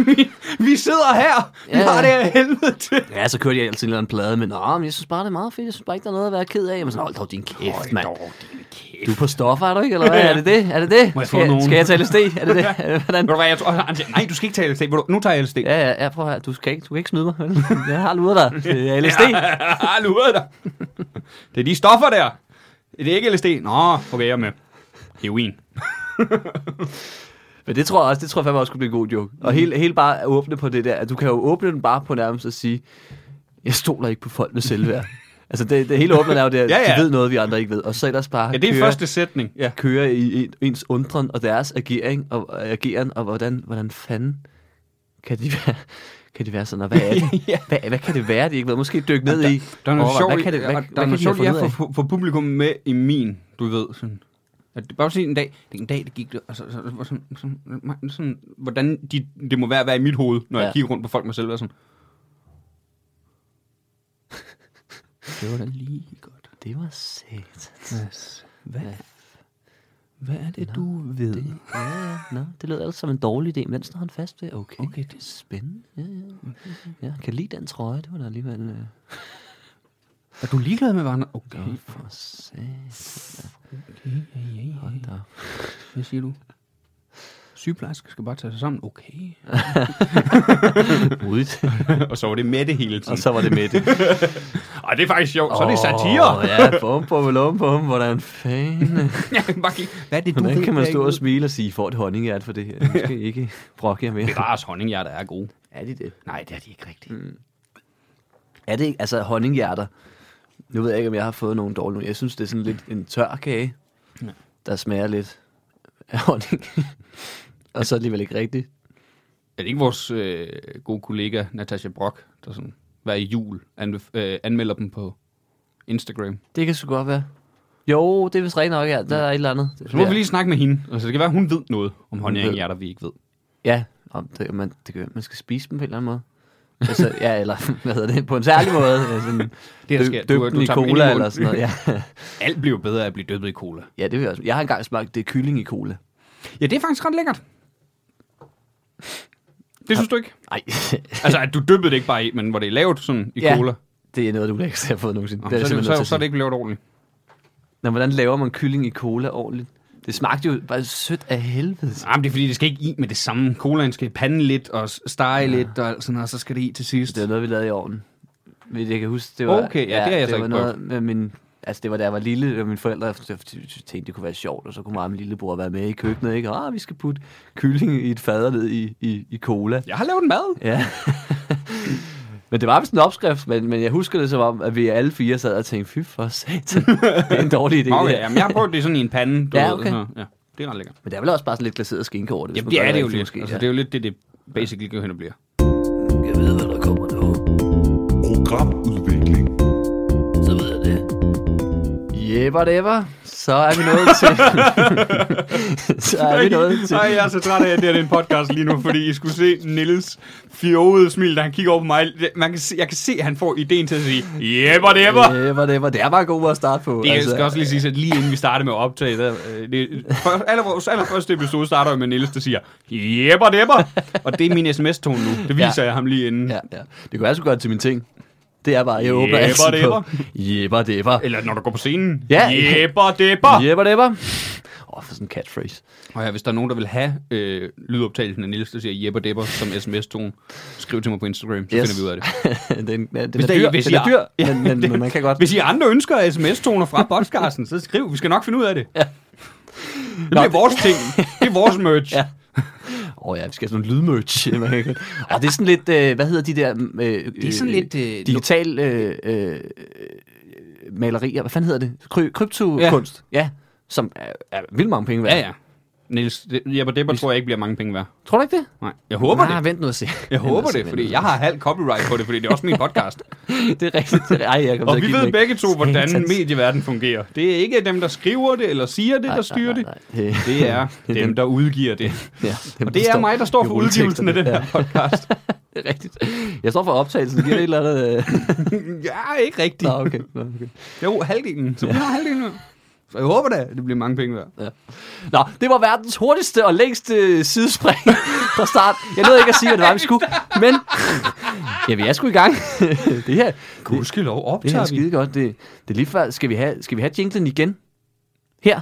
vi, vi sidder her. Vi
Ja,
har det
ja.
af helvede til.
[laughs] ja, så kørte jeg altid en eller anden plade, men, Nå, men jeg synes bare, det er meget fedt. Jeg synes bare ikke, der er noget at være ked af. Men sådan, hold dog din kæft, mand.
Hold dog, din kæft.
Du er på stoffer, er du ikke? Eller hvad? Er det det? Er det det?
Må jeg få
skal,
nogen?
skal jeg tage LSD?
[laughs]
Er det det? Er det- Hvordan?
Ved du hvad, jeg tror, han siger, nej, du skal ikke tage LSD. Ved du, Nu tager jeg LSD. Ja.
Ja, ja, ja, prøv at høre. Du, skal ikke, du kan ikke snyde mig. vel? Jeg har luret
[laughs]
dig. Det er LSD.
Ah, lurer dig. [laughs] Det er de stoffer der. Det er ikke LSD. Nå, okay, jeg er med. Heroin.
Men det tror jeg også, det tror jeg fandme også kunne blive en god joke.
Mm.
Og helt, helt bare at åbne på det der. at Du kan jo åbne den bare på nærmest at sige, jeg stoler ikke på folk med
[laughs]
selvværd. altså det, det hele åbne er jo det, at
Ja, ja.
de ved noget, vi andre ikke ved. Og så ellers bare
Ja, det er
køre,
første sætning.
ja. køre i en, ens undren og deres agering og, og ageren, og hvordan, hvordan fanden kan de være, kan de være sådan, og hvad er det?
[laughs] Ja.
hvad, hvad kan det være, de ikke ved? Måske dykke ned i.
Der er noget
overvej,
sjovt,
hvad kan det,
i-
hvad,
der,
hvad
der er
kan
noget
de have
sjovt, jeg
fundet ud af?
får for publikum med i min, du ved. Sådan. At det bare sige en dag, det er en dag, det gik, det, og så, så, så, sådan, sådan, sådan, sådan, hvordan de, det må være at være i mit hoved, når ja.
Ja.
jeg kigger rundt på folk med selvværd. Sådan,
Det var da lige godt. Det var sæt.
hvad, hvad er det, du ved? Det.
Ja, ja. Nå, det lød altså som en dårlig idé, men den står han fast ved. Okay, okay det er spændende. Ja, ja. ja, jeg kan lide den trøje, det var da alligevel... Øh...
Er du ligeglad med, hvad han... Okay.
Nå, for satan. Hold da. op.
Hvad siger du? Sygeplejersker skal bare tage sig sammen. Okay.
Modigt.
[laughs]
[laughs]
og så var det med det hele tiden.
Og så var det med det.
Ej, det er faktisk sjovt. Så er det satire.
Åh, ja, bum, bum, bum, bum. Hvordan [laughs] fanden?
[laughs] Ja, bare kig. Hvad er det, du
Hvordan
ved,
kan man
jeg
stå
ikke
og smile og sige, får et honninghjert for det her? Nu skal I ikke brokke jer mere.
ved? Bevares honninghjerter er gode.
Er de det?
Nej, det er de ikke rigtigt. Mm.
Er det ikke? Altså, honninghjerter. Nu ved jeg ikke, om jeg har fået nogen dårlige. nogen. Jeg synes, det er sådan lidt en tør kage,
Ja.
der smager lidt af honning. [laughs] og så alligevel ikke rigtigt.
Er det ikke vores øh, gode kollega, Natasha Brock, der sådan hver jul anbef- øh, anmelder dem på Instagram?
Det kan sgu godt være. Jo, det er vist rent nok, ja. Der er et eller andet.
Så må ja. vi lige snakke med hende. Altså, det kan være, hun ved noget om honninghjerter, vi ikke ved.
Ja, om det, man, det kan, man skal spise dem på en eller anden måde. Altså, ja, eller [laughs] hvad hedder det, på en særlig [laughs] måde. Ja, Sådan,
Det, der
døb-
sker, du-
døb
du
den i
tager dem ind i
cola
munden.
eller sådan [laughs] noget. Ja.
[laughs] Alt bliver bedre af at blive døbet i cola.
ja, det vil jeg også. Jeg har engang smagt det kylling i cola.
Ja, det er faktisk ret lækkert. Det synes du ikke?
Nej,
Altså, at du dyppede det ikke bare i, men hvor det er lavet sådan i
Ja.
cola.
[laughs] det er noget, du lækkert har fået nogensinde.
Nå, det er så, er det,
simpelthen nødt til
så,
at
så er
sige.
det ikke lavet ordentligt.
Nå, hvordan laver man kylling i cola ordentligt? Det smagte jo bare sødt af helvede.
Nej, men det er fordi, det skal ikke i med det samme. Colaen skal i panden lidt og s- stege ja. lidt, og, alt sådan, og så skal det i til sidst.
Det var noget, vi lavede i ovnen. Men Jeg kan huske, det var...
Okay, ja, det har jeg
det
så
var
ikke
noget med min, Altså, det var da jeg var lille, og mine forældre jeg tænkte, det kunne være sjovt, og så kunne mig og min lillebror være med i køkkenet, ikke? Ah, vi skal putte kylling i et faderled i, i, i cola.
Jeg har lavet en mad.
Ja. [laughs] men det var vist en opskrift, men, men jeg husker det som om, at vi alle fire sad og tænkte, fy for satan, det er en dårlig idé.
Nå,
det
ja,
her."
jamen, jeg har prøvet det sådan i en pande. Du
Ja,
ved,
okay.
så, ja, det er ret lækkert.
Men der er vel også bare sådan lidt glaseret skinke over det.
Jamen,
hvis man
det
gør
er det jo
rigtigt,
lidt.
måske,
Altså,
ja.
det er jo lidt det, det basically går hen og bliver.
Jeg ved, hvad der kommer nu.
Programudvikling.
Så ved jeg det. Jebber debber. Så er vi nået [laughs] til... så er vi nået til...
Nej, jeg er så træt af, at det her det er en podcast lige nu, fordi I skulle se Nils fjovede smil, da han kigger over på mig. Det- Man kan se, jeg kan se, at han får ideen til at sige, jebber debber.
Jebber debber. Det er bare god at starte på.
Det Øh, altså, skal også lige sige, at lige inden vi startede med at optage, der, øh, det, for, aller, vores allerførste episode starter jo med Niels, der siger, jebber debber, og det er min sms-tone nu. Det viser ja. jeg ham lige inden. Ja.
Ja, ja. Det kunne jeg så godt til min ting. Det er bare, jeg åbner
Jebber
altid
debber.
på. Jebber debber.
Eller når du går på scenen,
Ja.
jebber debber.
Jebber debber. Åh, oh, for sådan en catchphrase. [laughs]
Og ja, hvis der er nogen, der vil have øh, lydoptagelsen af Niels, der siger jebber debber som sms-tone, skriv til mig på Instagram, så yes.
Yes.
finder vi ud af det.
den, den, den,
Hvis
er
der-
dyr,
hvis
den
I
er
har-
dyr, men, men, men man kan godt.
Hvis I har andre ønsker sms-toner fra podcasten, så skriv, vi skal nok finde ud af det. Ja. Det
Nå.
bliver vores ting. Det er vores merch.
Ja. Åh oh, ja, vi skal have sådan en lydmerch. [laughs] Man kan godt- Og det er sådan lidt, øh, hvad hedder de der... Øh, det
er sådan lidt, øh,
digital øh, øh, malerier, hvad fanden hedder det? Kry- kryptokunst. Ja. ja. Som er, er vildt mange penge værd.
Ja, ja. Niels, det, jebber debber tror jeg ikke bliver mange penge værd.
Tror du ikke det?
Nej, jeg håber
Nej,
det.
vent nu og se.
Jeg håber det, fordi jeg har halv copyright på det, fordi det er også min
[laughs]
podcast.
Det er rigtigt.
[laughs]
Det er, ej, jeg kommer
Og
til
vi
at give den
ved
væk.
begge to, hvordan
Satans.
medieverdenen fungerer. Det er ikke dem, der skriver det, eller siger det,
Nej,
der styrer
nej,
det.
nej,
[laughs]
nej. Øh,
Det er
[laughs]
dem, der udgiver det.
Ja, dem,
Og
der
det er
står
mig, der står
i
for udgivelsen af den
rulleteksterne.
her podcast.
Ja, [laughs] det er rigtigt. Jeg står for optagelsen. Giver det et eller andet...
[laughs]
Øh...
Ja, ikke
Nå,
rigtigt.
okay. Nå, okay.
Jo, halvdelen. Så vi har halvdelen nu. Så jeg håber da, at det bliver mange penge værd.
Nå, det var verdens hurtigste og længste sidespring fra start. Jeg nåede ikke at sige, hvad det var, vi skulle, men ja, vi er sgu i gang. det her,
Gudskelov
det her er
optager vi.
skide godt. Det, det er lige før, skal vi have, skal vi have jinglen igen? Her?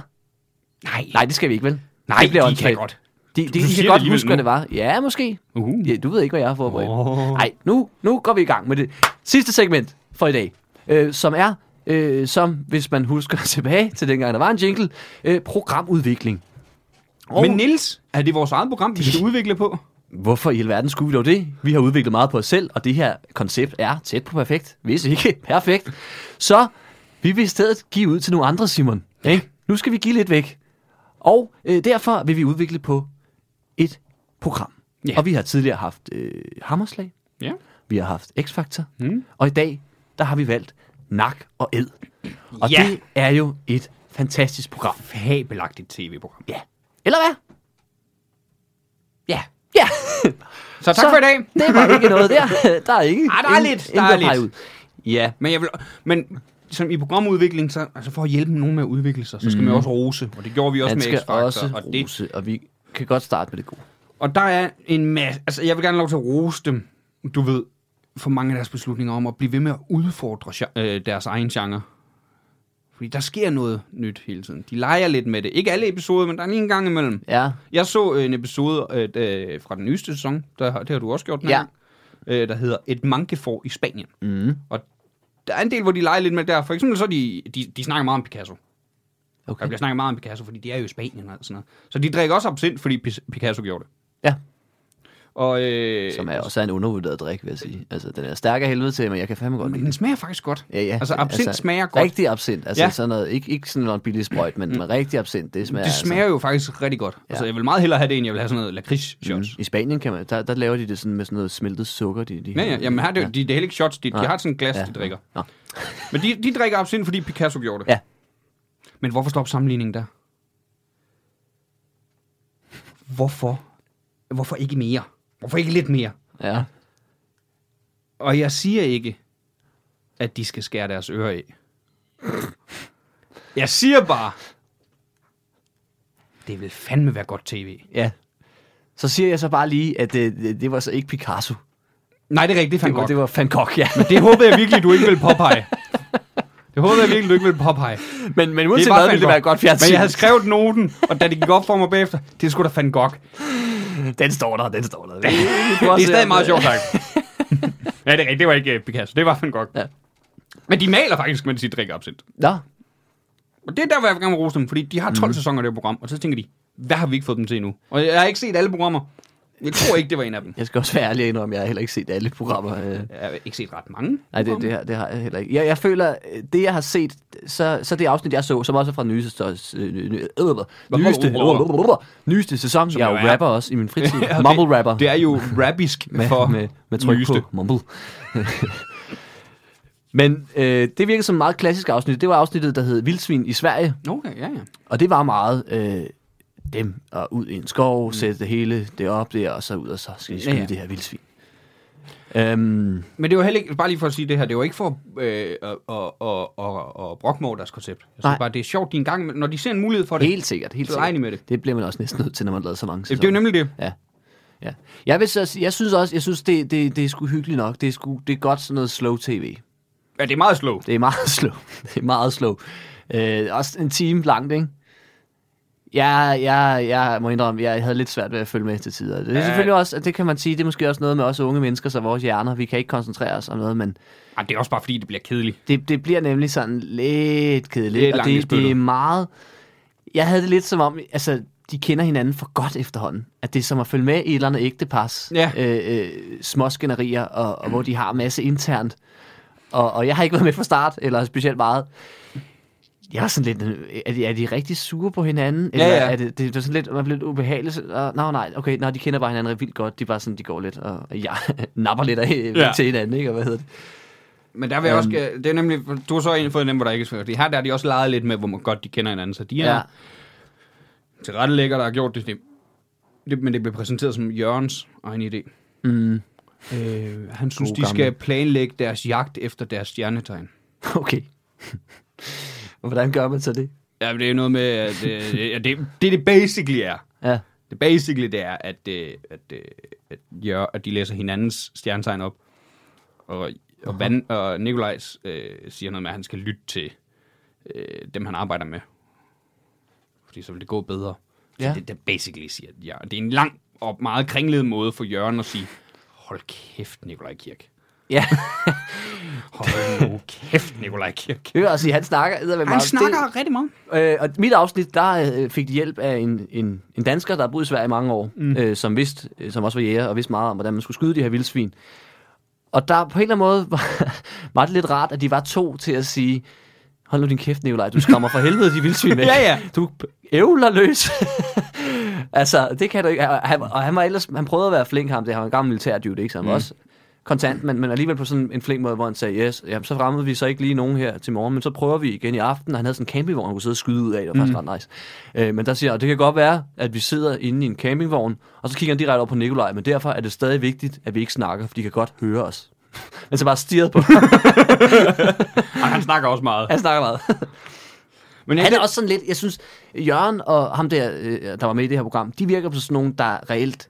Nej,
Nej, det skal vi ikke, vel?
Nej,
det bliver
de
åndssvagt.
kan godt.
De, de,
Du
de
siger
kan
det
godt
alligevel
huske,
nu.
hvad det var. Ja, måske.
Uh.
Ja, du ved ikke, hvad jeg har forberedt.
Åh.
Nej, nu, nu går vi i gang med det sidste segment for i dag, øh, som er, øh, som hvis man husker [laughs] tilbage til dengang, der var en jingle, øh, programudvikling. Og
Men Nils, er det vores eget program, vi skal udvikle på?
hvorfor i alverden skulle vi dog det? Vi har udviklet meget på os selv, og det her koncept er tæt på perfekt, hvis ikke [laughs] perfekt. Så vi vil i stedet give ud til nogle andre, Simon. Ikke? Nu skal vi give lidt væk. Og øh, derfor vil vi udvikle på et program.
Ja.
Og vi har tidligere haft øh, Hammerslag,
Ja.
vi har haft X-Factor,
Mm.
og i dag, der har vi valgt Nak og Ed. Og
Ja.
det er jo et fantastisk program.
Fabelagtigt tv-program.
Ja. Eller hvad? Ja. Ja. [laughs]
Så tak for i [laughs] dag.
Det var ikke noget der. [laughs] Der er ikke.
Ah, der er
ingen-
lidt,
ingen
der er
at pege
lidt.
ud. Ja.
Men, jeg vil, men som i programudvikling, så, altså for at hjælpe nogen med at udvikle sig, så skal mm. man også rose. Og det gjorde vi også
Han
med
skal også
X-Factor. Og, det,
rose, og vi kan godt starte med det gode.
og der er en masse... Altså, jeg vil gerne have lov til at rose dem, du ved, for mange af deres beslutninger om at blive ved med at udfordre gen- øh, deres egen genre. Fordi der sker noget nyt hele tiden. De leger lidt med det. Ikke alle episoder, men der er lige en gang imellem.
Ja.
Jeg så en episode øh, øh, fra den nyeste sæson, der, har- det har du også gjort, den
Ja.
her, øh, der hedder Et Mankefor i Spanien.
Mm.
Og der er en del, hvor de leger lidt med det der. For eksempel så de, de, de snakker meget om Picasso. Der
Okay.
bliver snakket meget om Picasso, fordi de er jo i Spanien og alt sådan noget. Så de drikker også absint, fordi Pis- Picasso gjorde det.
Ja.
Og, øh,
Som er også er en undervurderet drik, vil jeg sige. Altså, den er stærk af helvede til, men jeg kan fandme godt
Men
lide
den smager faktisk godt.
Ja, ja.
Altså, absint smager godt.
Rigtig absint. Altså
Ja. Mm.
ja. sådan noget, ikke, ikke sådan noget billig sprøjt, men, men rigtig absint, det smager... altså-
det smager jo faktisk rigtig godt. Ja. Altså, jeg vil meget hellere have det, end jeg vil have sådan noget lakrids-shots.
altså, I Spanien kan man, der, der laver de det sådan med sådan noget smeltet sukker. De, de
Ja, ja. Jamen, her, er det, jo- de, det er heller ikke shots. De, de
Mm. Nej.
har sådan et glas, ja. de drikker.
Nå.
Men de, de drikker absint, fordi Picasso gjorde det.
Ja.
Men hvorfor stopper sammenligningen der? Hvorfor? Hvorfor ikke mere? Hvorfor ikke lidt mere?
Ja.
Og jeg siger ikke, at de skal skære deres ører af. Jeg siger bare, det vil fandme være godt tv.
ja. Så siger jeg så bare lige, at det, det, det var så ikke Picasso.
Nej, det er rigtigt, det er
Det
fandme
var,
godt.
det var Van Gogh, ja.
Det håbede jeg virkelig, du ikke ville påpege. Det håbede jeg virkelig, du ikke ville påpege.
Men, men
Det
uanset
var
hvad,
Van
ville det
Gogh.
være godt fjernsyn.
Men jeg havde skrevet noten, og da det gik op for mig bagefter, det skulle da fandt godt.
Den står der, den står der.
Det er stadig meget sjovt, [laughs] tak. ja, det er rigtigt. Det var ikke uh, Picasso. Det var fandt godt. Ja.
Ja.
Men de maler faktisk, mens de drikker absint.
Nå,
Og det er der, hvor jeg vil gerne rose dem, fordi de har
Mhm.
12 mm. sæsoner af det her program, og så tænker de, hvad har vi ikke fået dem til endnu? Og jeg har ikke set alle programmer. Jeg tror ikke, det var en af dem.
jeg skal også være ærlig og indrømme, jeg har heller ikke set alle programmer. øh.
Jeg har ikke set ret mange.
Nej, det, det, har- det har jeg heller ikke. Jeg, jeg føler, øh, det jeg har set, så, så det afsnit, jeg så, som også er fra den nyeste, så- øh, øh, øh, nyeste, nyeste sæson. Jeg
jo
er
er.
jo rapper også i min [laughs] fritid.
Ja, det-
Mumble rapper.
Det er jo rabisk
med,
for
med, med tryk
nyeste.
på mumble. [laughs] Men øh, det virkede som et meget klassisk afsnit. Det var afsnittet, der hed Vildsvin i Sverige.
Okay, ja, ja.
Og det var meget øh, dem og ud i en skov, mm. sætte det hele det op der, og så ud, og så skal de
Ja,
skyde ja,
ja.
ja. det her vildsvin. Øhm,
Men det var heller ikke, bare lige for at sige det her, det var ikke for øh, at, at, at, at brokmål deres koncept. Jeg synes
Nej.
bare, det er sjovt, de en gang, imellem- når de ser en mulighed for det,
helt sikkert, helt
så leger de
sikkert.
med det.
Det bliver man også næsten nødt til, når man laver så mange
Det er jo
sæsoner.
nemlig det.
Ja. ja. Jeg, vil så, sige- jeg synes også, jeg synes, det, det, det er sgu hyggeligt nok. Det er, sgu, det er godt sådan noget slow tv.
Ja, det er meget slow.
Det er meget [laughs] slow. Det er meget slow. Øh, også en time langt, ikke? Jeg, jeg, jeg må indrømme, jeg havde lidt svært ved at følge med til tider. Det er
Ja.
ja. selvfølgelig også, at det kan man sige, det er måske også noget med os unge mennesker, så vores hjerner, vi kan ikke koncentrere os om noget, men
Ej, det er også bare, fordi det bliver kedeligt.
det, det bliver nemlig sådan lidt
Det er
kedeligt, og
langt i
det,
spyttet.
det er meget... Jeg havde det lidt som om, altså, de kender hinanden for godt efterhånden. At det er som at følge med i et eller andet ægtepars.
Ja.
Øh, øh, små skænderier, og, og hvor de har masse internt. Og, og jeg har ikke været med fra start, eller specielt meget. Jeg var sådan lidt, øh, er de, er de rigtig sure på hinanden? Eller
ja.
Er det, det var sådan lidt, man blev lidt ubehagelig. så- Og, nå, nej, okay, nå, de kender bare hinanden vildt godt. De er bare sådan, de går lidt og ja, [laughs] napper lidt af,
Ja.
ja. til hinanden, ikke? Og hvad hedder det?
Men der vil
Øhm.
jeg også, det er nemlig, du har så en fået dem, hvor der ikke er svært. Her der har de også leget lidt med, hvor man godt de kender hinanden, så de er ja. tilrettelægger, der har gjort det, det, det. Men det blev præsenteret som Jørgens egen idé.
Mm.
Øh, han synes,
God
de
gammel.
skal planlægge deres jagt efter deres stjernetegn.
[laughs] Okay. Og hvordan gør man så det?
Ja, men det er noget med, at øh, [laughs] det, det, det det basically er.
Ja.
Det basically det er, at, øh, at, øh, at, Jør, at de læser hinandens stjernetegn op. Og, og, Van, og Nikolajs øh, siger noget med, at han skal lytte til øh, dem, han arbejder med. Fordi så vil det gå bedre. Ja.
Ja.
Så det, det basically siger at Jør. Det er en lang og meget kringlet måde for Jørgen at sige, hold kæft, Nikolaj Kirk.
Ja,
Hold [laughs] nu kæft, Nikolaj Kirk.
det vil jeg sige, han snakker med
Han snakker det... rigtig meget.
Øh, og mit afsnit, der øh, fik de hjælp af en, en, en dansker, der har boet i Sverige i mange år, mm. øh, som vidste, øh, som også var jæger, og vidste meget om, hvordan man skulle skyde de her vildsvin. Og der på en eller anden måde [laughs] var, var det lidt rart, at de var to til at sige, hold nu din kæft, Nikolaj, du skræmmer for helvede de vildsvin væk.
Ja, ja.
Du ævler løs. [laughs] altså, det kan du ikke. Og han, og han, var ellers, han prøvede at være flink ham, det han var en gammel militærdude, ikke? Så
Mm.
han var også kontant, men, men alligevel på sådan en flink måde, hvor han sagde, yes, jamen, så fremmede vi så ikke lige nogen her til morgen, men så prøver vi igen i aften, og han havde sådan en campingvogn, han kunne sidde og skyde ud af, det var
Mm.
faktisk ret nice. Øh, men der siger, og det kan godt være, at vi sidder inde i en campingvogn, og så kigger han direkte over på Nikolaj, men derfor er det stadig vigtigt, at vi ikke snakker, for de kan godt høre os. [laughs] Men så bare stirret på ham.
Ej, han snakker også meget.
Han snakker meget.
Men jeg,
Han er også sådan lidt, jeg synes, Jørgen og ham der, øh, der var med i det her program, de virker på sådan nogen, der reelt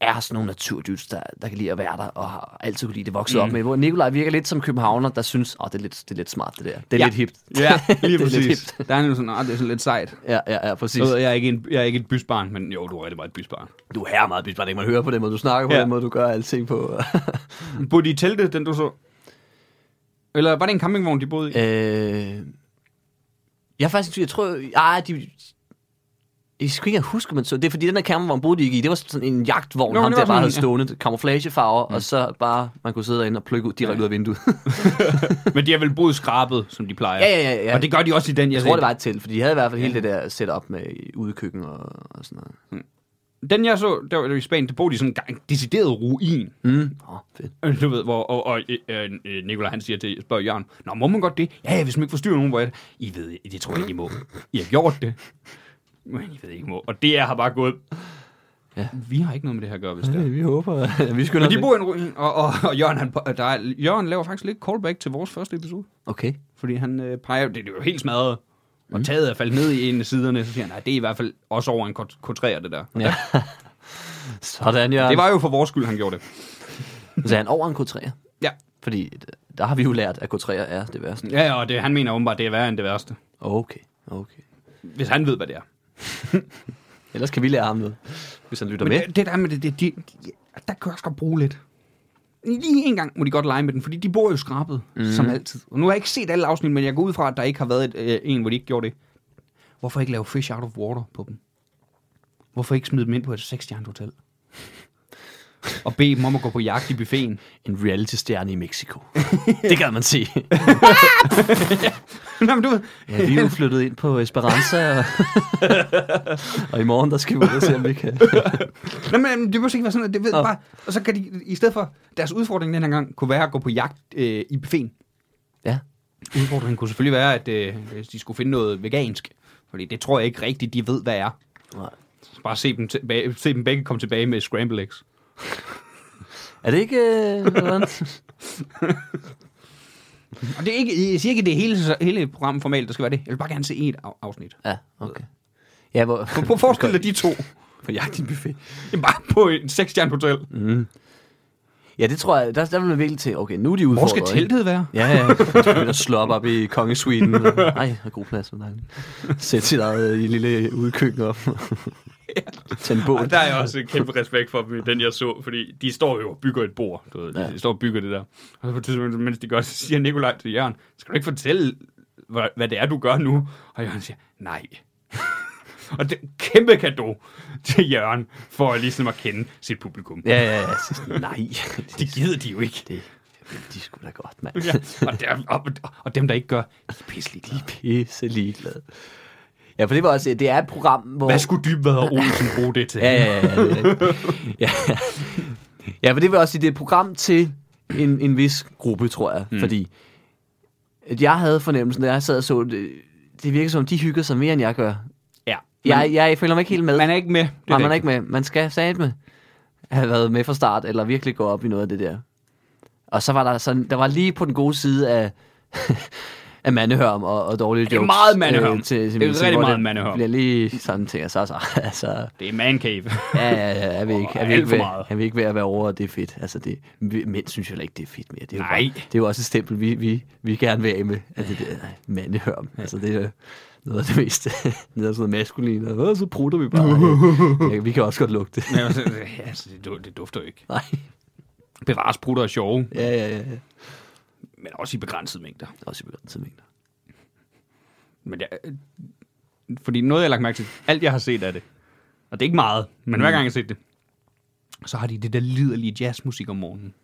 er sådan nogle naturdyds, der, der kan lide at være der, og har altid kunne lide det vokset mm. op med. Hvor Nikolaj virker lidt som københavner, der synes, åh, det, er lidt, det er lidt smart, det der. Det
Ja.
er ja. lidt hipt.
Ja, lige
[laughs] Det er lidt
præcis.
hipt.
Der er han jo sådan, ah, det er sådan lidt sejt.
Ja, ja, ja, præcis.
Jeg, ved, jeg, er ikke en, jeg er ikke et bysbarn, men jo, du er rigtig meget et bysbarn.
Du er her meget bidt, bare det kan man høre på den måde, du snakker på
Ja.
den måde, du gør alting på.
Boede de i teltet, den du så? Eller var det en campingvogn, de boede i?
Øh, jeg er faktisk i tvivl. jeg tror, ej, de, jeg skal ikke huske, men så, det er fordi, den der campingvogn boede de ikke i, det var sådan en jagtvogn,
Nå,
Nå, ham
det var
der bare
sådan
havde
en,
stående camouflagefarver, mm. og så bare, man kunne sidde derinde og plukke ud direkte
Ja.
ud af
[laughs]
vinduet.
Men de har vel boet skrabet, som de plejer.
ja, ja, ja, ja.
Og det altså gør de også i den, jeg,
jeg tror,
så.
det var et telt, for de havde i hvert fald hele det der setup med udekøkken og, og sådan noget.
Den, jeg så, der var det var i Spanien, der boede de i sådan en gang- decideret ruin.
Mm. Nå, fedt.
Øh, Du ved, hvor, og, og øh, øh, Nikolaj han siger til, spørger Jørgen, Nå, må man godt det? Ja, ja, hvis man ikke forstyrrer nogen, hvor jeg I ved, det tror jeg, I må. I har gjort det. Men I ved ikke, I må. Og det er har bare gået. Ja.
Ja.
Vi har ikke noget med det her at gøre, hvis det er.
vi håber, at [laughs] vi skynder
Men de bor i en ruin, og, og, og Jørgen, han, der er, Jørgen laver faktisk lidt callback til vores første episode.
Okay.
Fordi han øh, peger, det, det er jo helt smadret, og taget er faldet ned i en af siderne, så siger han, nej, det er i hvert fald også over en K- K3'er, det der.
Ja. [laughs] Sådan, Jørgen.
Det var jo for vores skyld, han gjorde det.
Så er han over en K3'er.
Ja,
Fordi der har vi jo lært, at K3'er er det værste.
ja og det, han mener åbenbart, det er værre end det værste.
Okay, okay.
Hvis han ved, hvad det er.
Ellers kan vi lære ham noget, hvis han lytter
Men
med.
det, det der med det, det de, de, der kan jeg også godt bruge lidt. Lige en gang må de godt lege med den, fordi de bor jo skrabet, mm. som altid. Og nu har jeg ikke set alle afsnit, men jeg går ud fra, at der ikke har været et, øh, en, hvor de ikke gjorde det. Hvorfor ikke lave fish out of water på dem? Hvorfor ikke smide dem ind på et seksstjernet [laughs] hotel? Og bede dem om at gå på jagt i buffeten.
En reality-stjerne i Mexico. det kan man se.
[laughs] Nå, men du ved,
[laughs] Ja, vi er jo flyttet ind på Esperanza, og, [laughs] og i morgen der skal vi ud og se, om vi kan.
Nå, men det behøver ikke være sådan, at det ved
Nå.
oh. bare. Og så kan de, i stedet for, deres udfordring den her gang, kunne være at gå på jagt øh, i buffeten.
Ja.
Udfordringen kunne selvfølgelig være, at øh, hvis de skulle finde noget vegansk. Fordi det tror jeg ikke rigtigt, de ved, hvad er.
Nej.
Så bare se dem, tilbage, se dem begge komme tilbage med scramble eggs.
Er det ikke... Øh, hvordan?
Og det er ikke, jeg siger ikke, at det er hele, hele programformatet, der skal være det. Jeg vil bare gerne se et af- afsnit.
ja, okay. Ja, hvor...
Prøv at forestille dig de to.
på jagt i buffet.
Jamen, Bare på en seksstjernet hotel.
Ja, det tror jeg, der, der vil man virkelig til, okay, nu er de udfordret.
Hvor skal
ikke?
teltet være?
Ja, [laughs] ja. Du begynder at slå op, op i kongesuiten. Nej, har god plads. hvor dejligt. Sæt sit eget øh, lille udkøkken op. Tænd bål.
Og der er jeg også en kæmpe respekt for dem, i den jeg så, fordi de står jo og bygger et bord. Du ved, ja.
Ja.
De står og bygger det der. Og så på et tidspunkt, mens de gør det, så siger Nikolaj til Jørgen, skal du ikke fortælle, hvad, hvad det er, du gør nu? Og Jørgen siger, nej. [laughs] og det er en kæmpe gave til Jørgen, for ligesom at kende sit publikum.
Ja, ja, ja. Så sådan, Nej, [laughs] det,
Det gider de jo ikke.
det vil de sgu da godt, mand.
Ja, [laughs] og, der, og, og, dem, der ikke gør, de er pisselig glade.
[laughs] Pisse ligeglad. Ja, for det var også, det er et program, hvor...
Hvad skulle Dybvad og Olsen bruge det til?
Ja, ja, ja. ja, det er [laughs] rigtigt. ja. ja, for det vil også sige, det er et program til en, en vis gruppe, tror jeg. Mm. Fordi at jeg havde fornemmelsen, da jeg sad og så det, det virker som, de hygger sig mere, end jeg gør.
ja.
Jeg, jeg føler mig ikke helt med.
Man er ikke med. Det
Nej, man er
rigtigt.
ikke med. Man skal satme have været med fra start, eller virkelig gå op i noget af det der. Og så var der sådan, der var lige på den gode side af, [laughs] af mandehørm og, og dårlige jokes. øh,
er meget mandehørm. Det er
min tid,
rigtig
hvor
meget mandehørm.
Bliver lige sådan ting, og så, så, altså,
Det er man cave.
ja, ja, ja, er vi ikke, er
alt
vi ikke,
for
ved,
meget.
er vi ikke ved at være over, og det er fedt. Altså, det, vi- mænd synes jo heller ikke, det er fedt mere. Det er jo
Nej.
Bare, det er jo også et stempel, vi, vi, vi gerne vil af med, at det der mandehørm. Altså, det er jo noget af det mest, [laughs] noget af sådan noget maskulin, og "Åh, så prutter vi bare. ja, vi kan også godt lugte det.
[laughs] Men jeg var sådan, ja, altså, det, du- det dufter jo ikke.
Nej.
Bevares prutter og sjove,
Ja, ja, ja. ja.
men også i begrænsede mængder.
Også i begrænsede mængder.
Men jeg, øh, fordi noget, jeg har lagt mærke til, alt jeg har set af det, og det er ikke meget, men hver gang jeg har set det, så har de det der liderlige jazzmusik om morgenen.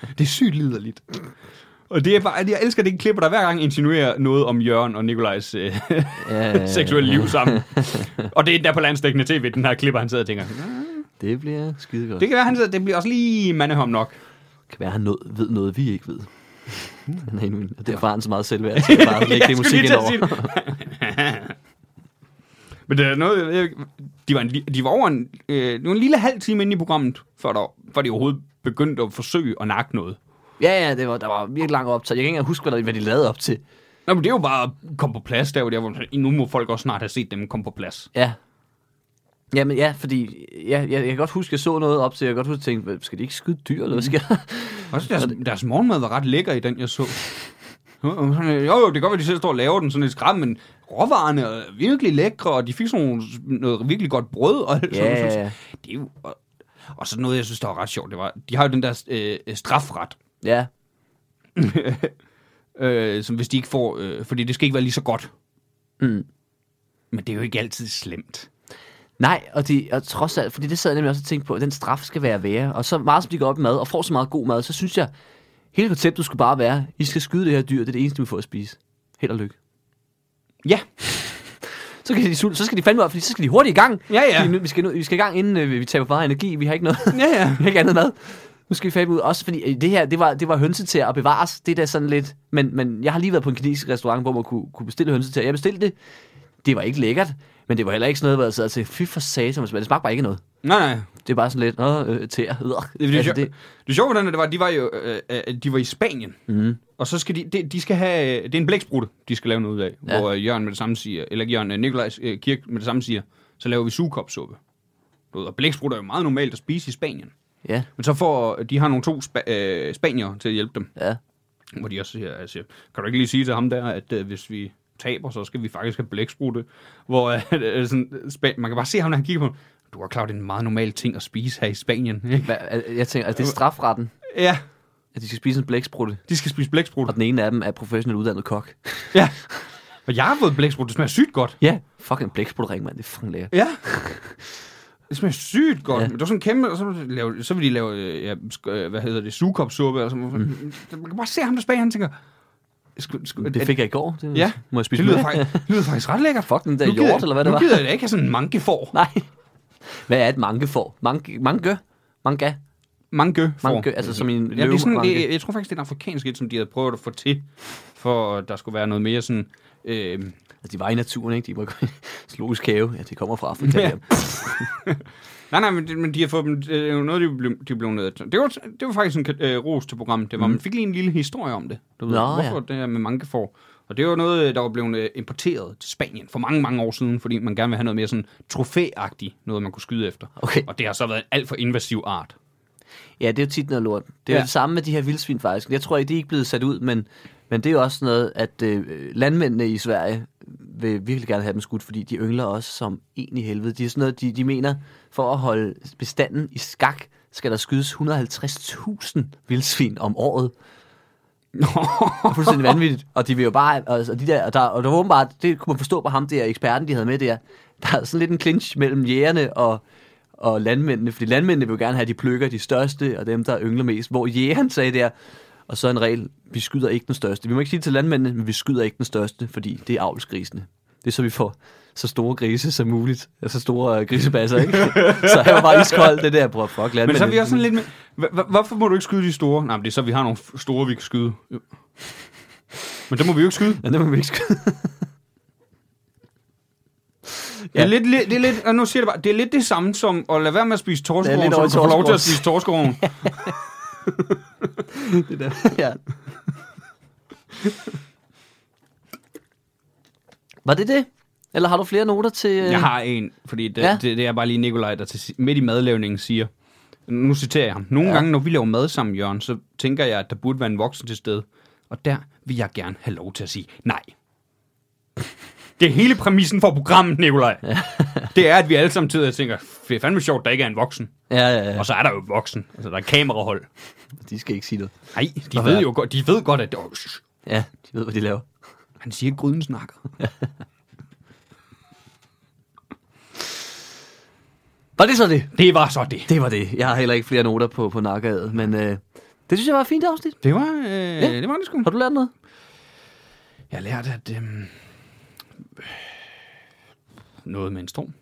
[laughs] det er sygt liderligt. Og det er bare, jeg elsker det klipper, der hver gang insinuerer noget om Jørgen og Nikolajs øh,
Ja,
[laughs] seksuelle liv sammen. og det er endda på landsdækkende tv, den her klipper, han sidder og tænker.
Det bliver skide godt.
Det
Det
kan være, han sidder, det bliver også lige mandehom nok.
kan være, han noget, ved noget, vi ikke ved. Han er endnu en, og derfor har han så meget selvværd, så Hmm. jeg [laughs] bare lægge det musik ind over.
[laughs] Men det er noget, jeg, de, var en, li- de var over en, øh, det var en lille halv time inde i programmet, før, der, før de overhovedet begyndte at forsøge at nakke noget.
Ja, ja, det var, der var virkelig langt op til. Jeg kan ikke engang huske, hvad, der, hvad de lavede op til.
Nå, men det er jo bare at komme på plads der, hvor det er, hvor nu må folk også snart have set dem komme på plads.
Ja. Jamen ja, fordi ja, jeg, jeg kan godt huske, jeg så noget op til, jeg kan godt huske, jeg tænkte, "Hvad, skal de ikke skyde dyr, eller hvad skal jeg?
Også deres, deres morgenmad var ret lækker i den, jeg så. Jo, sådan, øh, jo, jo, det kan godt være, de selv står og laver den sådan lidt skram, men råvarerne er virkelig lækre, og de fik sådan nogle, noget virkelig godt brød. Og alt
[laughs]
sådan,
Ja, ja,
noget.
ja.
Det er jo, og, og så noget, jeg synes, der var ret sjovt, det var, de har jo den der øh, strafret,
ja,
øh, som hvis de ikke får, øh, fordi det skal ikke være lige så godt.
Mm.
Men det er jo ikke altid slemt.
Nej, og, de, og trods alt, fordi det sad jeg nemlig også og tænkte på, at den straf skal være værre. Og så meget som de går op i mad, og får så meget god mad, så synes jeg, hele konceptet skulle bare være, I skal skyde det her dyr, det er det eneste, vi får at spise. Held og lykke.
Ja,
Så, kan de, sulte- så skal de fandme op, fordi så skal de hurtigt i gang.
Ja, ja.
Fordi nu- Vi skal, nu, vi skal i gang, inden øh, vi taber for meget energi. Vi har ikke noget.
ja, ja.
Vi har ikke andet mad. Nu skal vi fandme ud. Også fordi øh, det her, det var, det var hønse til at bevares. Det er da sådan lidt... Men, men jeg har lige været på en kinesisk restaurant, hvor man kunne, kunne bestille hønse til. Jeg bestilte det. Det var ikke lækkert. Men det var heller ikke sådan noget, hvor jeg sad og tænkte, fy for satan, men det smagte bare ikke af noget.
Nej, nej.
Det er bare sådan lidt, åh, øh, tæer, øh.
Det, det, altså,
det,
det, det sjove hvordan det var, at de var jo øh, øh, de var i Spanien. Mm. Og så skal de, de, de skal have, øh, det er en blæksprutte, de skal lave noget ud af.
Ja.
Ja. Hvor øh, Jørgen med det samme siger, eller ikke Jørgen, øh, Nikolajs øh, Kirk med det samme siger, så laver vi sugekopsuppe. Du ved, Og blæksprutter er jo meget normalt at spise i Spanien.
ja,
Men så får, de har nogle to spa- øh, spanier til at hjælpe dem.
ja.
Hvor de også siger, altså, kan du ikke lige sige til ham der, at øh, hvis vi taber, så skal vi faktisk have blæksprutte. Hvor øh, [laughs] øh, sådan, spa- man kan bare se ham, når han kigger på, ham. du har klart, det er en meget normal ting at spise her i Spanien. ikke?"
Hva, al- jeg tænker, altså, det er strafretten,
ja,
at de skal spise en blæksprutte.
de skal spise blæksprutte.
Og den ene af dem er professionel uddannet kok.
Ja. [laughs] Og jeg har fået blæksprutte. Det smager sygt godt.
Ja, fucking blæksprutring, mand. Det er fucking lækkert.
Ja. Det smager sygt godt.
Ja.
Ja. Men det var sådan en kæmpe... Og så, vil de lave, så vil de lave, øh, ja, sk- øh, hvad hedder det, sugekopsuppe. Og sådan, mm. Man kan bare se ham der bag, han tænker... Sku, sku,
Det fik jeg i går. Det,
Ja,
Må jeg spise
det lyder,
mere?
faktisk, det lyder faktisk ret lækkert.
Fuck den der
Nu gider-
hjort, eller hvad det var.
Nu gider jeg da ikke have sådan en mankefår.
[laughs] Nej. Hvad er et manke for? Manke, manke? Manga?
Mankefår.
Manke, altså som i en
Ja, det er sådan,
løvemanke.
jeg, jeg tror faktisk, det er en afrikansk et, som de havde prøvet at få til, for at der skulle være noget mere sådan... Øh,
Altså, de var i naturen, ikke? De var i zoologisk have. Ja, det kommer fra Afrika.
Ja.
Ja.
Nej, nej, men de, men de har fået dem, det er jo noget, de blev, de blev nødt til. Det var, det var faktisk en øh, ros til programmet, det var, mm. man fik lige en lille historie om det. Du ved,
Nå, ja.
hvorfor det her med mankefor. Og det var noget, øh, der var blevet øh, importeret til Spanien for mange, mange år siden, fordi man gerne vil have noget mere sådan trofæagtigt, noget man kunne skyde efter.
Okay.
Og det har så været en alt for invasiv
[laughs]
art.
ja, det er jo tit noget lort. Det er ja.
Ja.
det samme med de her vildsvin, faktisk. Jeg tror ikke, de er ikke blevet sat ud, men, men det er jo også noget, at øh, landmændene i Sverige vil virkelig gerne have dem skudt, fordi de yngler også som en i helvede. De er sådan noget, de, de mener, for at holde bestanden i skak, skal der skydes 150.000 vildsvin om året. Det er fuldstændig vanvittigt. Og de vil jo bare, og, og de der, og der, og der var åbenbart, det kunne man forstå på ham der, eksperten, de havde med der, der er sådan lidt en clinch mellem jægerne og, og landmændene, fordi landmændene vil jo gerne have, at de pløkker de største, og dem, der yngler mest, hvor jægeren sagde der, og så en regel, vi skyder ikke den største. Vi må ikke sige det til landmændene, men vi skyder ikke den største, fordi det er avlsgrisene. Det er så, vi får så store grise som muligt. Ja, Så store øh, grisebasser,
[laughs]
ikke? så jeg var bare iskold, det der, bror, fuck landmændene.
Men så er vi også sådan lidt med, hva- hva- hvorfor må du ikke skyde de store? Nej, men det er så, vi har nogle f- store, vi kan skyde. Jo. Men det må vi jo ikke skyde.
Men det må vi ikke skyde.
Ja. Det, er lidt, lidt, det er lidt, og nu siger jeg det bare, det er lidt det samme som at lade være med at spise
Det er
torskoven,
lidt
så
over
du
i
kan få lov til
torskegården.
at spise torskoven.
det der. ja. Var det det? Eller har du flere noter til... øh,
Jeg har en, fordi det,
Ja.
ja. det, det er bare lige Nikolaj, der til, si- midt i madlavningen siger, nu citerer jeg ham, nogle
Ja.
ja. gange, når vi laver mad sammen, Jørgen, så tænker jeg, at der burde være en voksen til stede, og der vil jeg gerne have lov til at sige [laughs] nej. Det er hele præmissen for programmet, Nikolaj. Ja. [laughs] det er, at vi alle samtidig tænker, det er fandme sjovt, der ikke er en voksen.
Ja, ja,
Ja.
ja.
Og så er der jo en voksen. Altså, der er kamerahold.
De skal ikke sige noget.
Nej, de
Og
ved
hvad?
jo godt, de ved godt, at... Oh, shh,
Ja, de ved, hvad de laver.
han siger, at gryden snakker.
Var det så det?
Det var så det.
Det var det. Jeg har heller ikke flere noter på, på nakkeaget, men øh, det synes jeg var et fint afsnit.
Det var, øh,
Ja.
ja. det, var det sgu.
Har du lært noget?
Jeg lærte, at... Øh, noget med en storm.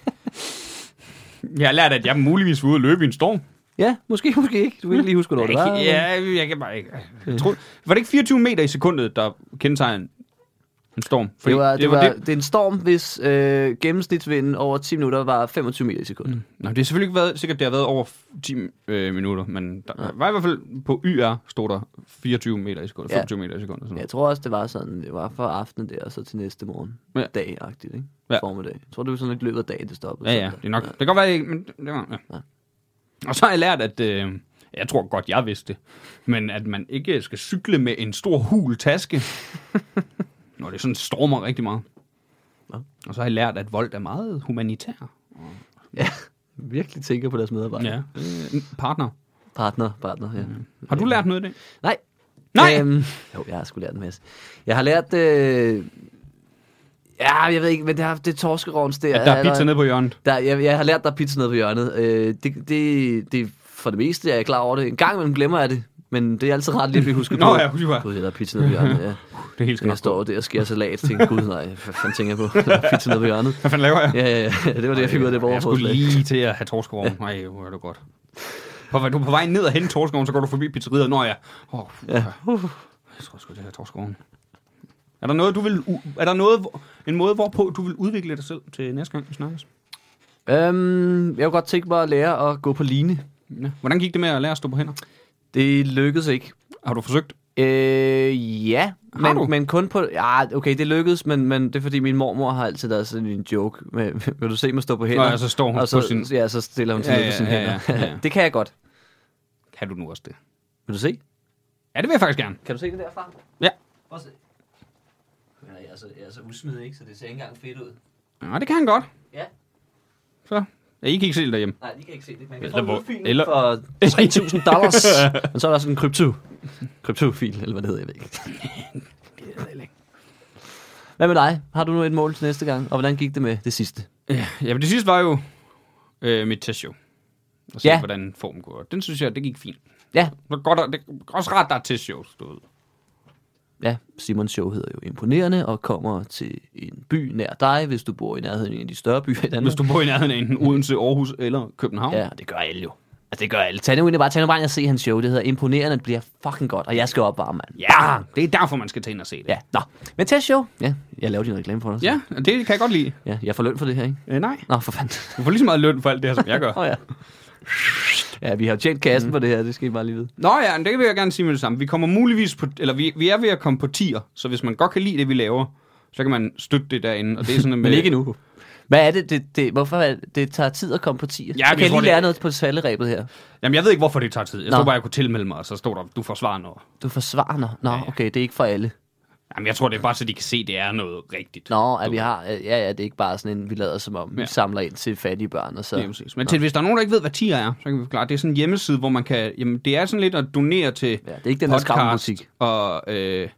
[laughs] jeg har lært, at jeg muligvis var ude at løbe i en storm.
Ja, måske, måske ikke. Du kan ikke lige huske, hvornår
Jeg
det [laughs] var.
kan, ja, jeg kan bare ikke... Jeg tror, var det ikke 24 meter i sekundet, der kendetegn En storm. Fordi
Det, var, det, det, var, det. det er en storm, hvis øh, gennemsnitsvinden over 10 minutter var 25 meter i sekundet. Mm.
Nå, det har selvfølgelig ikke været, sikkert det har været over 10 øh, minutter, men der ja. var i hvert fald på YR stod der 24 meter i sekundet,
Ja.
25 meter i sekundet. og Sådan
Jeg
noget.
tror også, det var sådan, det var fra aftenen der, og så til næste morgen.
Ja.
Ja. Dag-agtigt, ikke?
Ja.
Ja. Formiddag. Jeg tror, det var sådan lidt løbet af dagen, det stoppede.
Ja, ja, det er nok. Det kan godt være, det, men det var, ja.
Ja.
Og så har jeg lært, at øh, jeg tror godt, jeg vidste det, men at man ikke skal cykle med en stor hul
[laughs]
taske, når det sådan stormer rigtig meget.
Nå.
Og så har jeg lært, at vold er meget humanitær.
ja. [laughs] Virkelig tænker på deres medarbejdere. Ja.
Ja. Øh, partner.
Partner, partner, ja. Mm.
Har du lært noget af det?
Nej.
Nej!
Øhm, jo, jeg har sgu lært en masse. Jeg har lært... Øh, ja, jeg ved ikke, men det, har, det er torskerovns der.
At der er
eller-
pizza nede på hjørnet.
Der, jeg, jeg har lært, der er pizza nede på hjørnet. Øh, det, det, det er for det meste, jeg er klar over det. En gang imellem glemmer jeg det, men det er altid rart lige at blive husket
Nå
på.
ja, husk bare.
Gud, der er pizza nede på hjørnet, ja.
Det er helt
Jeg
skønt.
står der og skærer salat, tænker, gud nej, hvad fanden tænker jeg på? Der er pizza nede på hjørnet.
Hvad fanden laver jeg?
Ja, ja, ja, [laughs] det var det, jeg fik ud af det
Jeg skulle
borgerforslag.
lige til at have torskevogn. Nej, hvor er det godt. På, vej- du er på vej ned og hente torskevogn, så går du forbi pizzeriet. Nå ja. Oh, ja. Jeg tror sgu, det her torskevogn. Er der noget, du vil, u- er der noget, hvor- en måde, hvorpå du vil udvikle dig selv til næste gang, vi snakkes?
Øhm, jeg kunne godt tænke mig at lære at gå på line.
Ja. Hvordan gik det med at lære at stå på hænder?
Det lykkedes ikke.
Har du forsøgt?
Øh, ja,
Har du?
men, men kun på... Ja, okay, det lykkedes, men, men det er fordi, min mormor har altid været sådan en joke. Med, [laughs] vil du se mig stå på hænder?
Nå, ja, så står hun
og så,
på sin-
Ja, så stiller hun sig
Ja,
ned
ja,
på sine
ja, ja,
hænder.
ja, ja.
[laughs] det kan jeg godt.
Kan du nu også det?
Vil du se?
Ja, det vil jeg faktisk gerne.
Kan du se det derfra?
Ja.
Prøv at se. Ja, jeg, er så, jeg er så usmidig, ikke? Så det ser ikke engang fedt ud.
Ja, det kan han godt.
Ja.
Så. Ja, I kan ikke se det derhjemme.
Nej, de kan ikke se det. Man
kan
kan
Eller få en hvor-
få
lydfil
en
eller-
eller... for 3.000 dollars. [laughs] Men så er der sådan en krypto. Kryptofil, eller hvad det hedder, jeg ved ikke. Hvad med dig? Har du nu et mål til næste gang? Og hvordan gik det med det sidste?
Ja, ja, men det sidste var jo øh, mit testshow. Og se, ja.
Ja.
hvordan formen går. Den synes jeg, det gik fint.
Ja,
Det er godt, at- det er også rart, der er testshows, du ved.
ja, Simons show hedder jo Imponerende og kommer til en by nær dig, hvis du bor i nærheden af en af de større byer i Danmark.
Hvis du bor i nærheden af enten Odense, Aarhus eller København. Ja.
Ja, det gør alle jo. Altså, det gør alle. Tag nu ind og bare, tag nu bare ind og se hans show. Det hedder Imponerende, det bliver fucking godt, og jeg skal opvarme, mand.
ja, det er derfor, man skal tage ind og se det.
Ja, nå. Men test show. Ja, jeg laver din reklame for dig. så.
ja og det kan jeg godt lide.
ja. jeg får løn for det her, ikke?
Øh, nej.
Nå, for fanden.
Du får lige så meget løn for alt det her, som jeg gør.
Åh oh, ja. Ja, vi har jo tjent kassen mm. på det her, det skal I bare lige vide.
Nå ja, men det vil jeg gerne sige med det samme. Vi kommer muligvis på, eller vi, vi er ved at komme på tier, så hvis man godt kan lide det, vi laver, så kan man støtte det derinde. Og det er
[laughs]
sådan, at
Men ikke endnu. Hvad er det, det, det hvorfor er det, det tager tid at komme på 10? Ja,
jeg
kan jeg
tror,
lige
det-
lære noget på salderæbet her?
Jamen, jeg ved ikke, hvorfor det tager tid. Jeg tror
Nå.
bare, jeg kunne tilmelde mig, og så stod der, du får svar noget.
Du forsvarer noget. Nå,
ja.
okay, det er ikke for alle.
Jamen, jeg tror, det er bare, så de kan se, det er noget rigtigt.
Nå,
Du-
at vi har, ja, ja, det er ikke bare sådan en, vi lader som om, ja.
Ja.
vi samler ind til fattige børn og så.
Lige præcis. Men til, hvis der er nogen, der ikke ved, hvad tier er, så kan vi forklare. Det er sådan en hjemmeside, hvor man kan... Jamen, det er sådan lidt at donere til
Ja, det er ikke den der skrammelbutik.
og... Øh,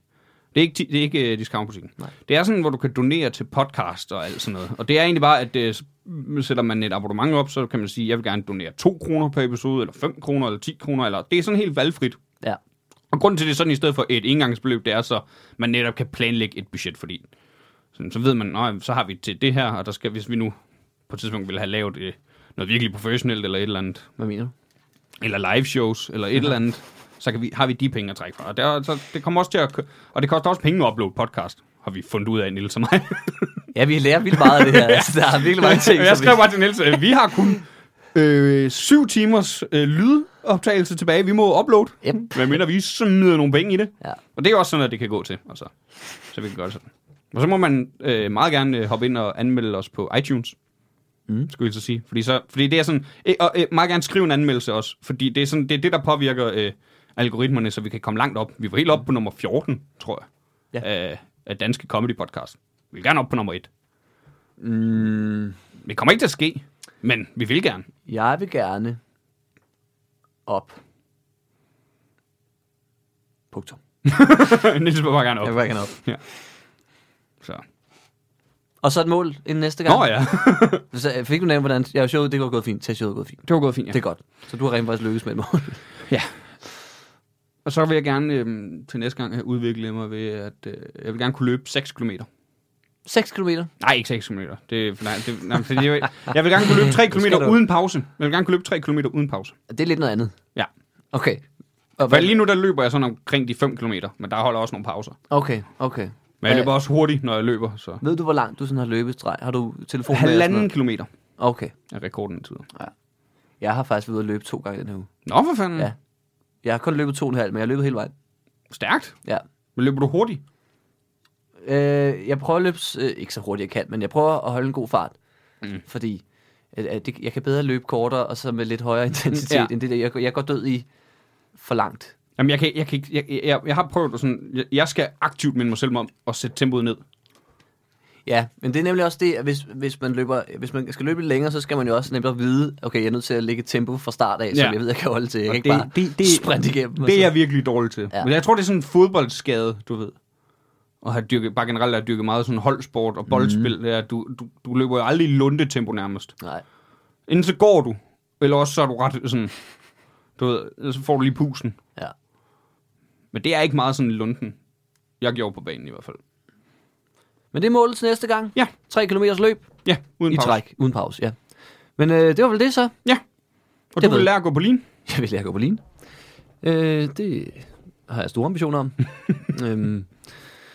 det er ikke, ti- det er ikke øh, discountbutikken.
Nej.
Det er sådan, hvor du kan donere til podcast og alt sådan noget. Og det er egentlig bare, at øh, s- sætter man et abonnement op, så kan man sige, jeg vil gerne donere 2 kroner per episode, eller 5 kroner, eller 10 kroner, eller det er sådan helt valgfrit.
Ja.
Og grunden til, det er sådan i stedet for et engangsbeløb, det er så, man netop kan planlægge et budget, fordi sådan, så ved man, nej, så har vi til det her, og der skal, hvis vi nu på et tidspunkt vil have lavet øh, noget virkelig professionelt, eller et eller andet,
Hvad mener du?
eller live shows, eller et eller andet, så kan vi, har vi de penge at trække fra. Og det, er, så, det kommer også til at, kø- og det koster også penge at uploade podcast, har vi fundet ud af, Niels og [laughs] mig.
Ja, vi lærer vildt meget af
[laughs]
det her. Altså, der er virkelig mange ting,
jeg
som
skrev
vi...
bare til Niels, øh, vi har kun øh, syv timers øh, lydoptagelse tilbage, vi må uploade.
Yep.
Hvad mener vi? Smider nogle penge i det.
Ja.
Og det er også sådan, at det kan gå til. Og så, så vi kan gøre det sådan. Og så må man øh, meget gerne øh, hoppe ind og anmelde os på iTunes. Mm. Skulle jeg så sige. Fordi, så, fordi det er sådan... Øh, og øh, meget gerne skrive en anmeldelse også. Fordi det er, sådan, det, er det, der påvirker øh, algoritmerne, så vi kan komme langt op. Vi var helt op på nummer 14, tror jeg. Ja. Øh, af danske comedy podcast. Vi vil gerne op på nummer 1. Mm. Det kommer ikke til at ske, men vi vil gerne. [laughs]
Jeg vil gerne op. Punktum.
Niels vil bare gerne op.
Jeg vil bare gerne op.
Så.
Og så et mål inden næste gang.
Nå ja,
Så øh, fik du nævnt, hvordan ja, showet det var gået fint. Tag showet er gået fint.
det var gået fint. Ja.
Ja. Det er godt. Så du har rent faktisk lykkes med et mål.
Og så vil jeg gerne øh, til næste gang øh, udvikle mig ved, at øh, jeg vil gerne kunne løbe 6 km.
6 km.
Nej, ikke 6 km. Det, nej, det, nej, fordi jeg, vil, jeg vil gerne kunne løbe 3
skal
km
du-
uden pause. Jeg vil gerne kunne løbe 3 km uden pause.
Det er lidt noget andet.
Ja.
Okay. Og
For lige nu, der løber jeg sådan omkring de 5 km, men der holder også nogle pauser.
Okay, okay.
Men jeg
Ja.
løber også hurtigt, når jeg løber, så...
Ved du, hvor langt du sådan har løbet streg? Har du telefon med? og sådan
Halvanden
noget?
kilometer
Okay.
er rekorden indtil videre.
Jeg har faktisk været ude at løbe to gange den her uge.
Nå, for fanden.
Ja.
Ja.
Jeg har kun løbet to og en halv, men jeg har løbet hele vejen.
Stærkt.
Ja.
Men løber du hurtigt?
Øh, jeg prøver at løbe, s- øh, ikke så hurtigt jeg kan, men jeg prøver at holde en god fart. Mm. Fordi at, at det, jeg kan bedre løbe kortere, og så med lidt højere intensitet, ja.
Ja.
end det der. Jeg, jeg går død i for langt.
Jamen, jeg, kan, jeg, kan ikke, jeg, jeg- jeg, jeg har prøvet at sådan... Jeg, jeg skal aktivt minde mig selv om at sætte tempoet ned.
Ja, men det er nemlig også det, at hvis, hvis, man løber, hvis man skal løbe lidt længere, så skal man jo også nemt at vide, okay, jeg er nødt til at lægge et tempo fra start af, så
Ja.
jeg ved, jeg kan holde til. Jeg
Og
kan ikke
det-
bare
det- det-
sprinte igennem. og
Det er
så-
jeg virkelig dårlig til.
Ja.
Ja. Men jeg tror, det er sådan en fodboldskade, du ved. Og har dyrket, bare generelt har dyrket meget sådan holdsport og boldspil.
Mhm.
Mm. Det er, at du, du, du løber jo aldrig i lundetempo nærmest.
Nej.
Inden så går du. Eller også så er du ret sådan... Du ved, så får du lige pusen.
Ja.
Men det er ikke meget sådan lunden. Jeg gjorde på banen i hvert fald.
Men det er målet til næste gang.
Ja.
3 km løb
Ja, uden
i
pause.
træk, uden pause, ja. Men øh, det var vel det så. [laughs]
Ja. Og
Jeg
du
ved.
vil lære at gå på lin.
Jeg vil lære at gå på line. Øh, det har jeg store ambitioner
[laughs]
om. øhm,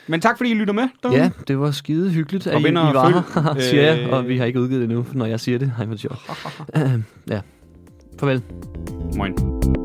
Men tak fordi I lytter med. derude.
ja, det var skide hyggeligt, at
Og
I, I
vinder og
var
følg,
her, [laughs] siger jeg,
øh,
og vi har ikke
[laughs]
udgivet det endnu, når jeg siger det. Hej, hvor sjovt. Øh, ja, Øhm, farvel.
Moin.